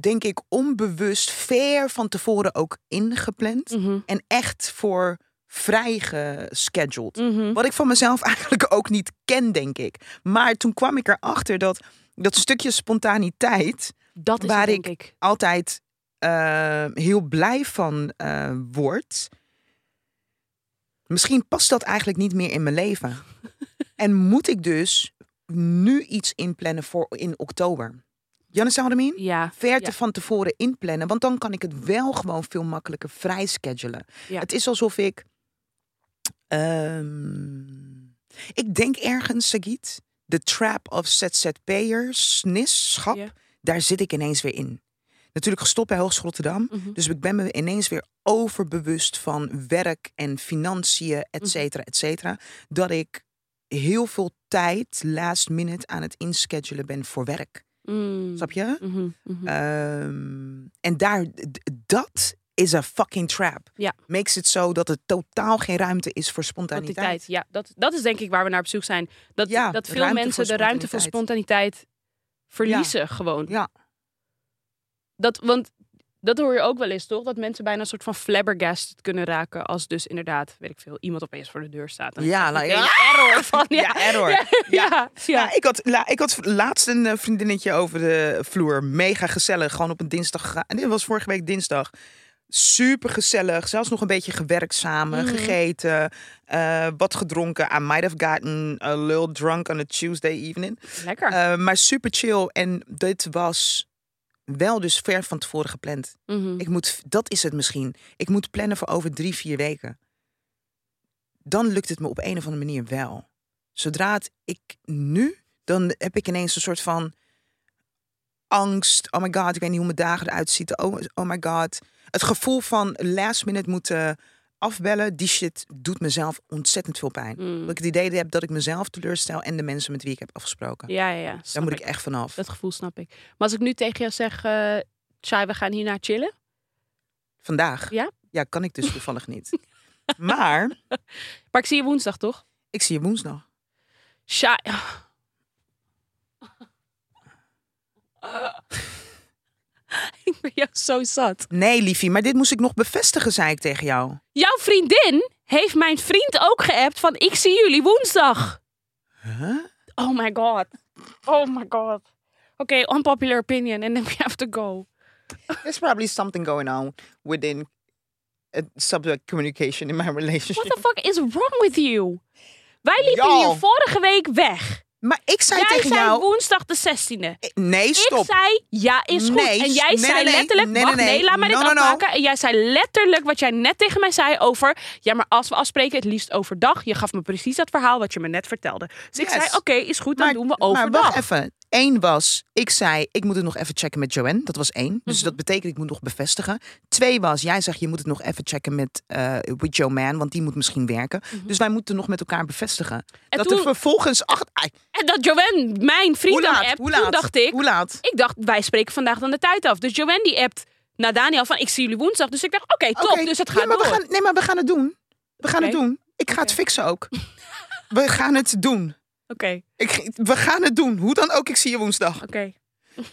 Speaker 2: denk ik, onbewust, ver van tevoren ook ingepland.
Speaker 1: Mhm.
Speaker 2: En echt voor vrij gescheduled.
Speaker 1: Mhm.
Speaker 2: Wat ik van mezelf eigenlijk ook niet ken, denk ik. Maar toen kwam ik erachter dat dat stukje spontaniteit
Speaker 1: Dat is
Speaker 2: Waar
Speaker 1: het,
Speaker 2: ik-
Speaker 1: denk ik.
Speaker 2: altijd eh, heel blij van eh wordt. Misschien past dat eigenlijk niet meer in mijn leven. en moet ik dus nu iets inplannen voor in oktober? Janne Soudermin?
Speaker 1: Ja.
Speaker 2: verte
Speaker 1: Ja.
Speaker 2: van tevoren inplannen. Want dan kan ik het wel gewoon veel makkelijker vrij schedulen.
Speaker 1: Ja.
Speaker 2: Het is alsof ik. ehm, ik denk ergens, Sagit, de trap of ZZP'ers, nisschap,
Speaker 1: Ja.
Speaker 2: daar zit ik ineens weer in. Natuurlijk gestopt bij Hoogst Rotterdam.
Speaker 1: Mhm.
Speaker 2: Dus ik ben me ineens weer overbewust van werk en financiën, et
Speaker 1: Mhm.
Speaker 2: cetera, et cetera. Dat ik heel veel tijd last minute aan het inschedulen ben voor werk.
Speaker 1: Mm.
Speaker 2: Snap je?
Speaker 1: Mhm. Mhm.
Speaker 2: Ehm, en daar, d- d- dat is een fucking trap.
Speaker 1: Ja.
Speaker 2: Makes het zo dat er totaal geen ruimte is voor spontaniteit.
Speaker 1: Spontaniteit, ja. Dat, dat is denk ik waar we naar op zoek zijn. Dat,
Speaker 2: Ja,
Speaker 1: dat veel
Speaker 2: ruimte
Speaker 1: mensen de
Speaker 2: voor
Speaker 1: ruimte voor spontaniteit verliezen gewoon.
Speaker 2: Ja.
Speaker 1: Dat, want Dat hoor je ook wel eens, toch? Dat mensen bijna een soort van flabbergasted kunnen raken. Als dus inderdaad, weet ik veel, iemand opeens voor de deur staat. En
Speaker 2: Ja, nou,
Speaker 1: ik denk,
Speaker 2: ja.
Speaker 1: error van. Ja,
Speaker 2: Ja, error.
Speaker 1: Ja, ja, ja.
Speaker 2: Ja, ik, had, la- ik had laatst een eh, vriendinnetje over de vloer. Mega gezellig. Gewoon op een dinsdag. En dit was vorige week dinsdag. Super gezellig. Zelfs nog een beetje gewerkt samen.
Speaker 1: Mhm.
Speaker 2: Gegeten. eh, wat gedronken. I might have gotten a little drunk on a Tuesday evening.
Speaker 1: Lekker.
Speaker 2: Eh, maar super chill. En dit was wel dus ver van tevoren gepland.
Speaker 1: Mhm.
Speaker 2: Eh, Ik moet, dat is het misschien. Ik moet plannen voor over drie, vier weken. Dan lukt het me op een of andere manier wel. Zodra het ik nu, dan heb ik ineens een soort van angst. Oh my god, ik weet niet hoe mijn dagen eruit ziet. Oh, oh my god. Het gevoel van last minute moeten afbellen, die shit doet mezelf ontzettend veel pijn.
Speaker 1: Mm.
Speaker 2: Dat ik het idee heb dat ik mezelf teleurstel en de mensen met wie ik heb afgesproken.
Speaker 1: Ja, ja, ja.
Speaker 2: Daar
Speaker 1: snap
Speaker 2: moet
Speaker 1: ik.
Speaker 2: ik echt vanaf.
Speaker 1: Dat gevoel snap ik. Maar als ik nu tegen jou zeg, eh Shai, we gaan hierna chillen.
Speaker 2: Vandaag.
Speaker 1: Ja?
Speaker 2: Ja, kan ik dus toevallig niet. Maar
Speaker 1: Maar ik zie je woensdag, toch?
Speaker 2: ik zie je woensdag.
Speaker 1: Shai. ik ben jou zo zat.
Speaker 2: Nee, liefie, maar dit moest ik nog bevestigen, zei ik tegen jou.
Speaker 1: Jouw vriendin heeft mijn vriend ook geappt van ik zie jullie woensdag.
Speaker 2: Huh?
Speaker 1: Oh my god. Oh my god. Oké, unpopular opinion and then we have to go.
Speaker 2: There's probably something going on within eh, subject communication in my relationship.
Speaker 1: What the fuck is wrong with you? Wij liepen
Speaker 2: Yo.
Speaker 1: hier vorige week weg.
Speaker 2: Maar ik zei
Speaker 1: Jij
Speaker 2: tegen
Speaker 1: zei
Speaker 2: jou...
Speaker 1: woensdag de 16e.
Speaker 2: eh, Nee,
Speaker 1: Ik
Speaker 2: stop.
Speaker 1: zei, ja, is goed.
Speaker 2: Nee,
Speaker 1: en jij
Speaker 2: nee,
Speaker 1: zei
Speaker 2: nee, nee.
Speaker 1: letterlijk,
Speaker 2: Nee,
Speaker 1: wacht,
Speaker 2: nee,
Speaker 1: nee,
Speaker 2: nee.
Speaker 1: laat mij dit
Speaker 2: No, no, no.
Speaker 1: afmaken. En jij zei letterlijk wat jij net tegen mij zei over, ja, maar als we afspreken, het liefst overdag. Je gaf me precies dat verhaal wat je me net vertelde. Dus ik
Speaker 2: Yes.
Speaker 1: zei, oké, is goed, dan
Speaker 2: maar,
Speaker 1: doen we
Speaker 2: maar
Speaker 1: overdag.
Speaker 2: wacht even. Eén was, ik zei, ik moet het nog even checken met Joanne. Dat was één. Dus
Speaker 1: Mhm.
Speaker 2: dat betekent, ik moet nog bevestigen. Twee was, jij zegt, je moet het nog even checken met, eh with your man. Want die moet misschien werken. Dus wij moeten nog met elkaar bevestigen. dat
Speaker 1: Mhm. toen-
Speaker 2: er vervolgens... acht. ai,
Speaker 1: En dat Joanne, mijn vriend,
Speaker 2: hoe
Speaker 1: dan
Speaker 2: laat?
Speaker 1: appt,
Speaker 2: hoe
Speaker 1: toen
Speaker 2: laat?
Speaker 1: dacht ik,
Speaker 2: Hoe laat?
Speaker 1: ik dacht, wij spreken vandaag dan de tijd af. Dus Joanne die appt naar Daniel van, ik zie jullie woensdag. Dus ik dacht, oké, top,
Speaker 2: Oké,
Speaker 1: dus het
Speaker 2: ja,
Speaker 1: gaat
Speaker 2: maar
Speaker 1: door.
Speaker 2: We gaan, nee, maar we gaan het doen. We gaan
Speaker 1: Oké.
Speaker 2: het doen. Ik ga het fixen ook. we gaan het doen.
Speaker 1: Oké,
Speaker 2: Ik, we gaan het doen. Hoe dan ook, ik zie je woensdag.
Speaker 1: oké.
Speaker 2: Oh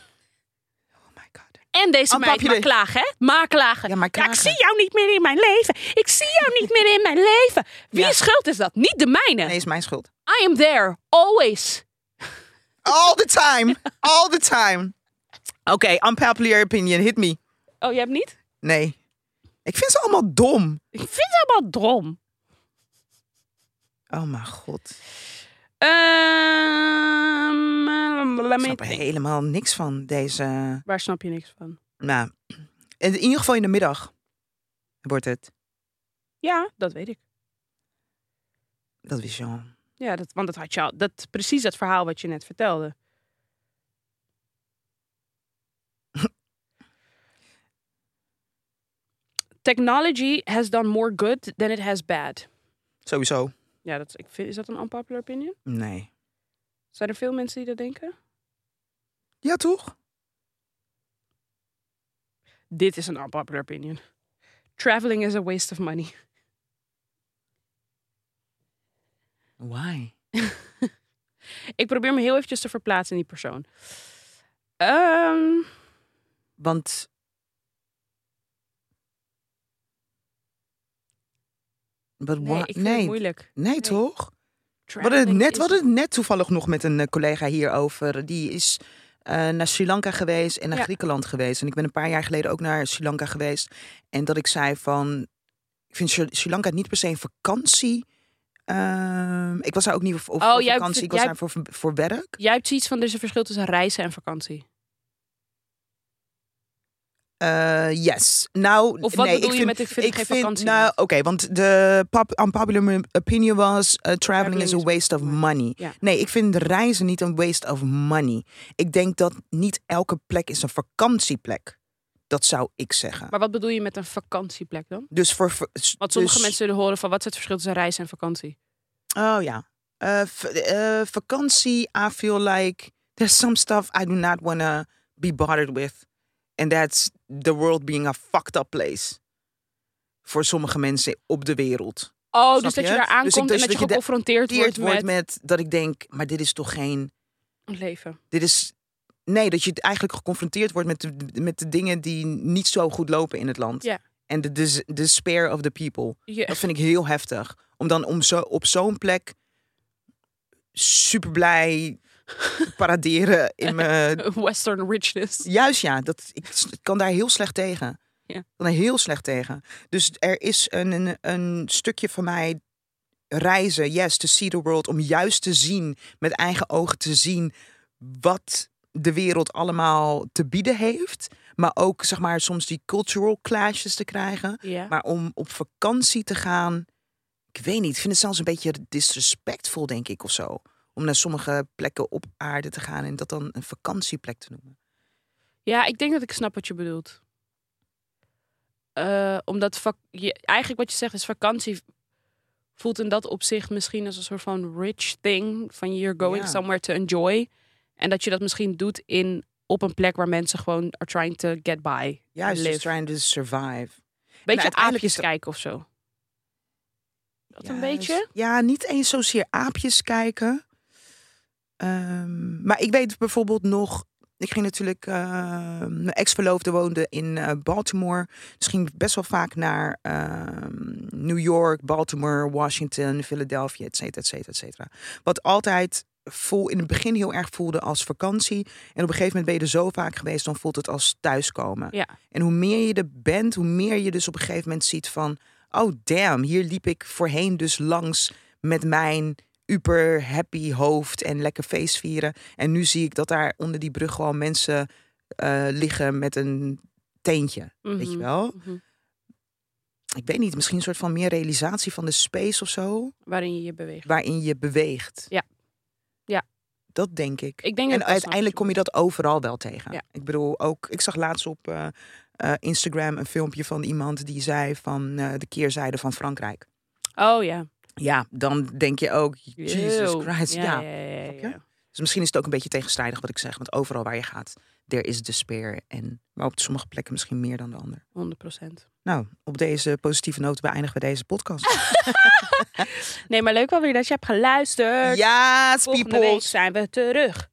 Speaker 2: my god.
Speaker 1: En deze
Speaker 2: Aan
Speaker 1: meid
Speaker 2: papier-
Speaker 1: maar klagen, hè? Maar klagen.
Speaker 2: Ja, maar
Speaker 1: ik
Speaker 2: klagen.
Speaker 1: zie jou niet meer in mijn leven. Ik zie jou niet meer in mijn leven. Wie
Speaker 2: Ja.
Speaker 1: schuld is dat? Niet de mijne.
Speaker 2: Nee, is mijn schuld.
Speaker 1: I am there, always.
Speaker 2: All the time. All the time. Oké, unpopular opinion. Hit me.
Speaker 1: Oh, je hebt niet?
Speaker 2: Nee. Ik vind ze allemaal dom.
Speaker 1: Ik vind het allemaal drom.
Speaker 2: Oh mijn god.
Speaker 1: Ehm, ehm, let
Speaker 2: Ik
Speaker 1: me
Speaker 2: snap er
Speaker 1: think.
Speaker 2: helemaal niks van deze...
Speaker 1: Waar snap je niks van?
Speaker 2: Nou, in ieder geval in de middag wordt het.
Speaker 1: Ja, dat weet ik.
Speaker 2: Dat wist je al.
Speaker 1: Ja, dat, want dat had je al. Dat, precies dat verhaal wat je net vertelde. Technology has done more good than it has bad.
Speaker 2: Sowieso.
Speaker 1: Ja, dat, ik vind, is dat een unpopular opinion?
Speaker 2: Nee.
Speaker 1: Zijn er veel mensen die dat denken?
Speaker 2: Ja, toch?
Speaker 1: Dit is een unpopular opinion. Traveling is a waste of money.
Speaker 2: Why?
Speaker 1: Ik probeer me heel eventjes te verplaatsen in die persoon. Ehm,
Speaker 2: Want. But
Speaker 1: nee,
Speaker 2: why-
Speaker 1: ik vind het
Speaker 2: nee,
Speaker 1: moeilijk.
Speaker 2: nee, toch? We hadden, het
Speaker 1: Traveling
Speaker 2: net,
Speaker 1: is-
Speaker 2: we hadden het net toevallig nog met een eh, collega hierover. Die is eh, naar Sri Lanka geweest en naar
Speaker 1: Ja.
Speaker 2: Griekenland geweest. En ik ben een paar jaar geleden ook naar Sri Lanka geweest. En dat ik zei van. Ik vind Sri Sri Lanka niet per se een vakantie. Ehm, ik was daar ook niet voor, voor
Speaker 1: Oh, jij
Speaker 2: vakantie.
Speaker 1: vind-
Speaker 2: Ik was
Speaker 1: jij-
Speaker 2: daar voor, voor werk.
Speaker 1: Jij hebt zoiets van, er is een verschil tussen reizen en vakantie.
Speaker 2: Eh, yes. Nou,
Speaker 1: Of wat
Speaker 2: nee,
Speaker 1: bedoel
Speaker 2: ik
Speaker 1: je
Speaker 2: vind,
Speaker 1: met ik vind geen vakantie
Speaker 2: Nou,
Speaker 1: meer?
Speaker 2: oké, want de pop, unpopular opinion was... eh, traveling is a waste of money.
Speaker 1: Ja.
Speaker 2: Nee, ik vind reizen niet een waste of money. Ik denk dat niet elke plek is een vakantieplek. Dat zou ik zeggen.
Speaker 1: Maar wat bedoel je met een vakantieplek dan?
Speaker 2: Dus voor... voor- s-
Speaker 1: Want sommige
Speaker 2: dus-
Speaker 1: mensen zullen horen van, wat is het verschil tussen reizen en vakantie?
Speaker 2: Oh ja. Eh, v- eh, vakantie, I feel like there's some stuff I do not want to be bothered with. And that's the world being a fucked up place. Voor sommige mensen op de wereld.
Speaker 1: Oh,
Speaker 2: Snap
Speaker 1: dus dat je
Speaker 2: je?
Speaker 1: daar
Speaker 2: Dus ik-
Speaker 1: aankomt
Speaker 2: dus
Speaker 1: en dat
Speaker 2: dat
Speaker 1: je
Speaker 2: je de-
Speaker 1: geconfronteerd wordt
Speaker 2: Geconfronteerd
Speaker 1: met,
Speaker 2: wordt met dat ik denk, maar dit is toch geen...
Speaker 1: leven.
Speaker 2: Dit is Nee, dat je eigenlijk geconfronteerd wordt met de, met de dingen die niet zo goed lopen in het land.
Speaker 1: Ja.
Speaker 2: En de, de, de despair of the people.
Speaker 1: Je,
Speaker 2: Dat vind ik heel heftig. Om dan om zo, op zo'n plek super blij te paraderen in mijn.
Speaker 1: Western richness.
Speaker 2: Juist ja, dat, ik s- kan daar heel slecht tegen.
Speaker 1: Ja.
Speaker 2: Ik kan daar heel slecht tegen. Dus er is een, een, een stukje van mij reizen, yes, to see the world. Om juist te zien, met eigen ogen te zien wat de wereld allemaal te bieden heeft. Maar ook zeg maar soms die cultural clashes te krijgen.
Speaker 1: Ja.
Speaker 2: Maar om op vakantie te gaan, ik weet niet. Ik vind het zelfs een beetje disrespectvol, denk ik, of zo. Om naar sommige plekken op aarde te gaan en dat dan een vakantieplek te noemen.
Speaker 1: ja, ik denk dat ik snap wat je bedoelt. Eh, omdat vak- je, eigenlijk wat je zegt is vakantie voelt in dat opzicht misschien als een soort van rich thing. Van you're going
Speaker 2: Ja.
Speaker 1: somewhere to enjoy. En dat je dat misschien doet in, op een plek waar mensen gewoon are trying to get by.
Speaker 2: Juist,
Speaker 1: live.
Speaker 2: just trying to survive.
Speaker 1: Beetje
Speaker 2: nou, uiteindelijk
Speaker 1: aapjes
Speaker 2: is dat-
Speaker 1: kijken of zo. Dat een
Speaker 2: Juist.
Speaker 1: beetje?
Speaker 2: Ja, niet eens zozeer aapjes kijken. Ehm, maar ik weet bijvoorbeeld nog... Ik ging natuurlijk... ehm, mijn ex-verloofde woonde in eh, Baltimore. Dus ging ik best wel vaak naar ehm, New York, Baltimore, Washington, Philadelphia, et cetera, et cetera, et cetera. Wat altijd voel, in het begin heel erg voelde als vakantie. En op een gegeven moment ben je er zo vaak geweest, dan voelt het als thuiskomen.
Speaker 1: Ja.
Speaker 2: En hoe meer je er bent, hoe meer je dus op een gegeven moment ziet van... Oh damn, hier liep ik voorheen dus langs met mijn uber happy hoofd en lekker feest vieren. En nu zie ik dat daar onder die brug gewoon mensen eh, liggen met een teentje, weet je
Speaker 1: Mhm.
Speaker 2: wel?
Speaker 1: Mhm.
Speaker 2: Ik weet niet, misschien een soort van meer realisatie van de space of zo,
Speaker 1: Waarin je je beweegt.
Speaker 2: waarin je beweegt.
Speaker 1: Ja. Ja.
Speaker 2: Dat denk ik.
Speaker 1: Ik denk dat ik dat
Speaker 2: En
Speaker 1: snap
Speaker 2: uiteindelijk
Speaker 1: wat
Speaker 2: kom je dat overal wel tegen.
Speaker 1: Ja.
Speaker 2: Ik bedoel, ook ik zag laatst op eh, eh, Instagram een filmpje van iemand die zei van eh, de keerzijde van Frankrijk.
Speaker 1: bedoelt. Oh ja.
Speaker 2: Ja, dan denk je ook, Jesus
Speaker 1: Eeuw.
Speaker 2: Christ. Ja,
Speaker 1: Ja, ja, ja,
Speaker 2: Snap
Speaker 1: ja.
Speaker 2: je? Dus misschien is het ook een beetje tegenstrijdig wat ik zeg, want overal waar je gaat, er is despair. En maar op sommige plekken misschien meer dan de ander.
Speaker 1: 100%.
Speaker 2: Nou, op deze positieve noot beëindigen we deze podcast.
Speaker 1: Nee, maar leuk wel weer dat je hebt geluisterd.
Speaker 2: Ja,
Speaker 1: Volgende week
Speaker 2: peoples.
Speaker 1: zijn we terug.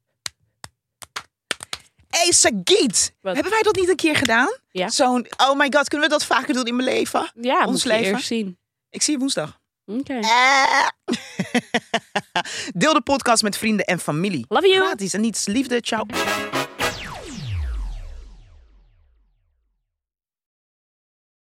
Speaker 2: Hey, Sagit.
Speaker 1: Wat?
Speaker 2: Hebben wij dat niet een keer gedaan?
Speaker 1: Ja.
Speaker 2: Zo'n, oh my god, kunnen we dat vaker doen in mijn leven?
Speaker 1: Ja,
Speaker 2: Ons
Speaker 1: moet je
Speaker 2: leven.
Speaker 1: eerst zien.
Speaker 2: Ik zie je woensdag.
Speaker 1: Oké.
Speaker 2: Eh. Deel de podcast met vrienden en familie.
Speaker 1: Love you.
Speaker 2: Gratis en niets. Liefde. Ciao.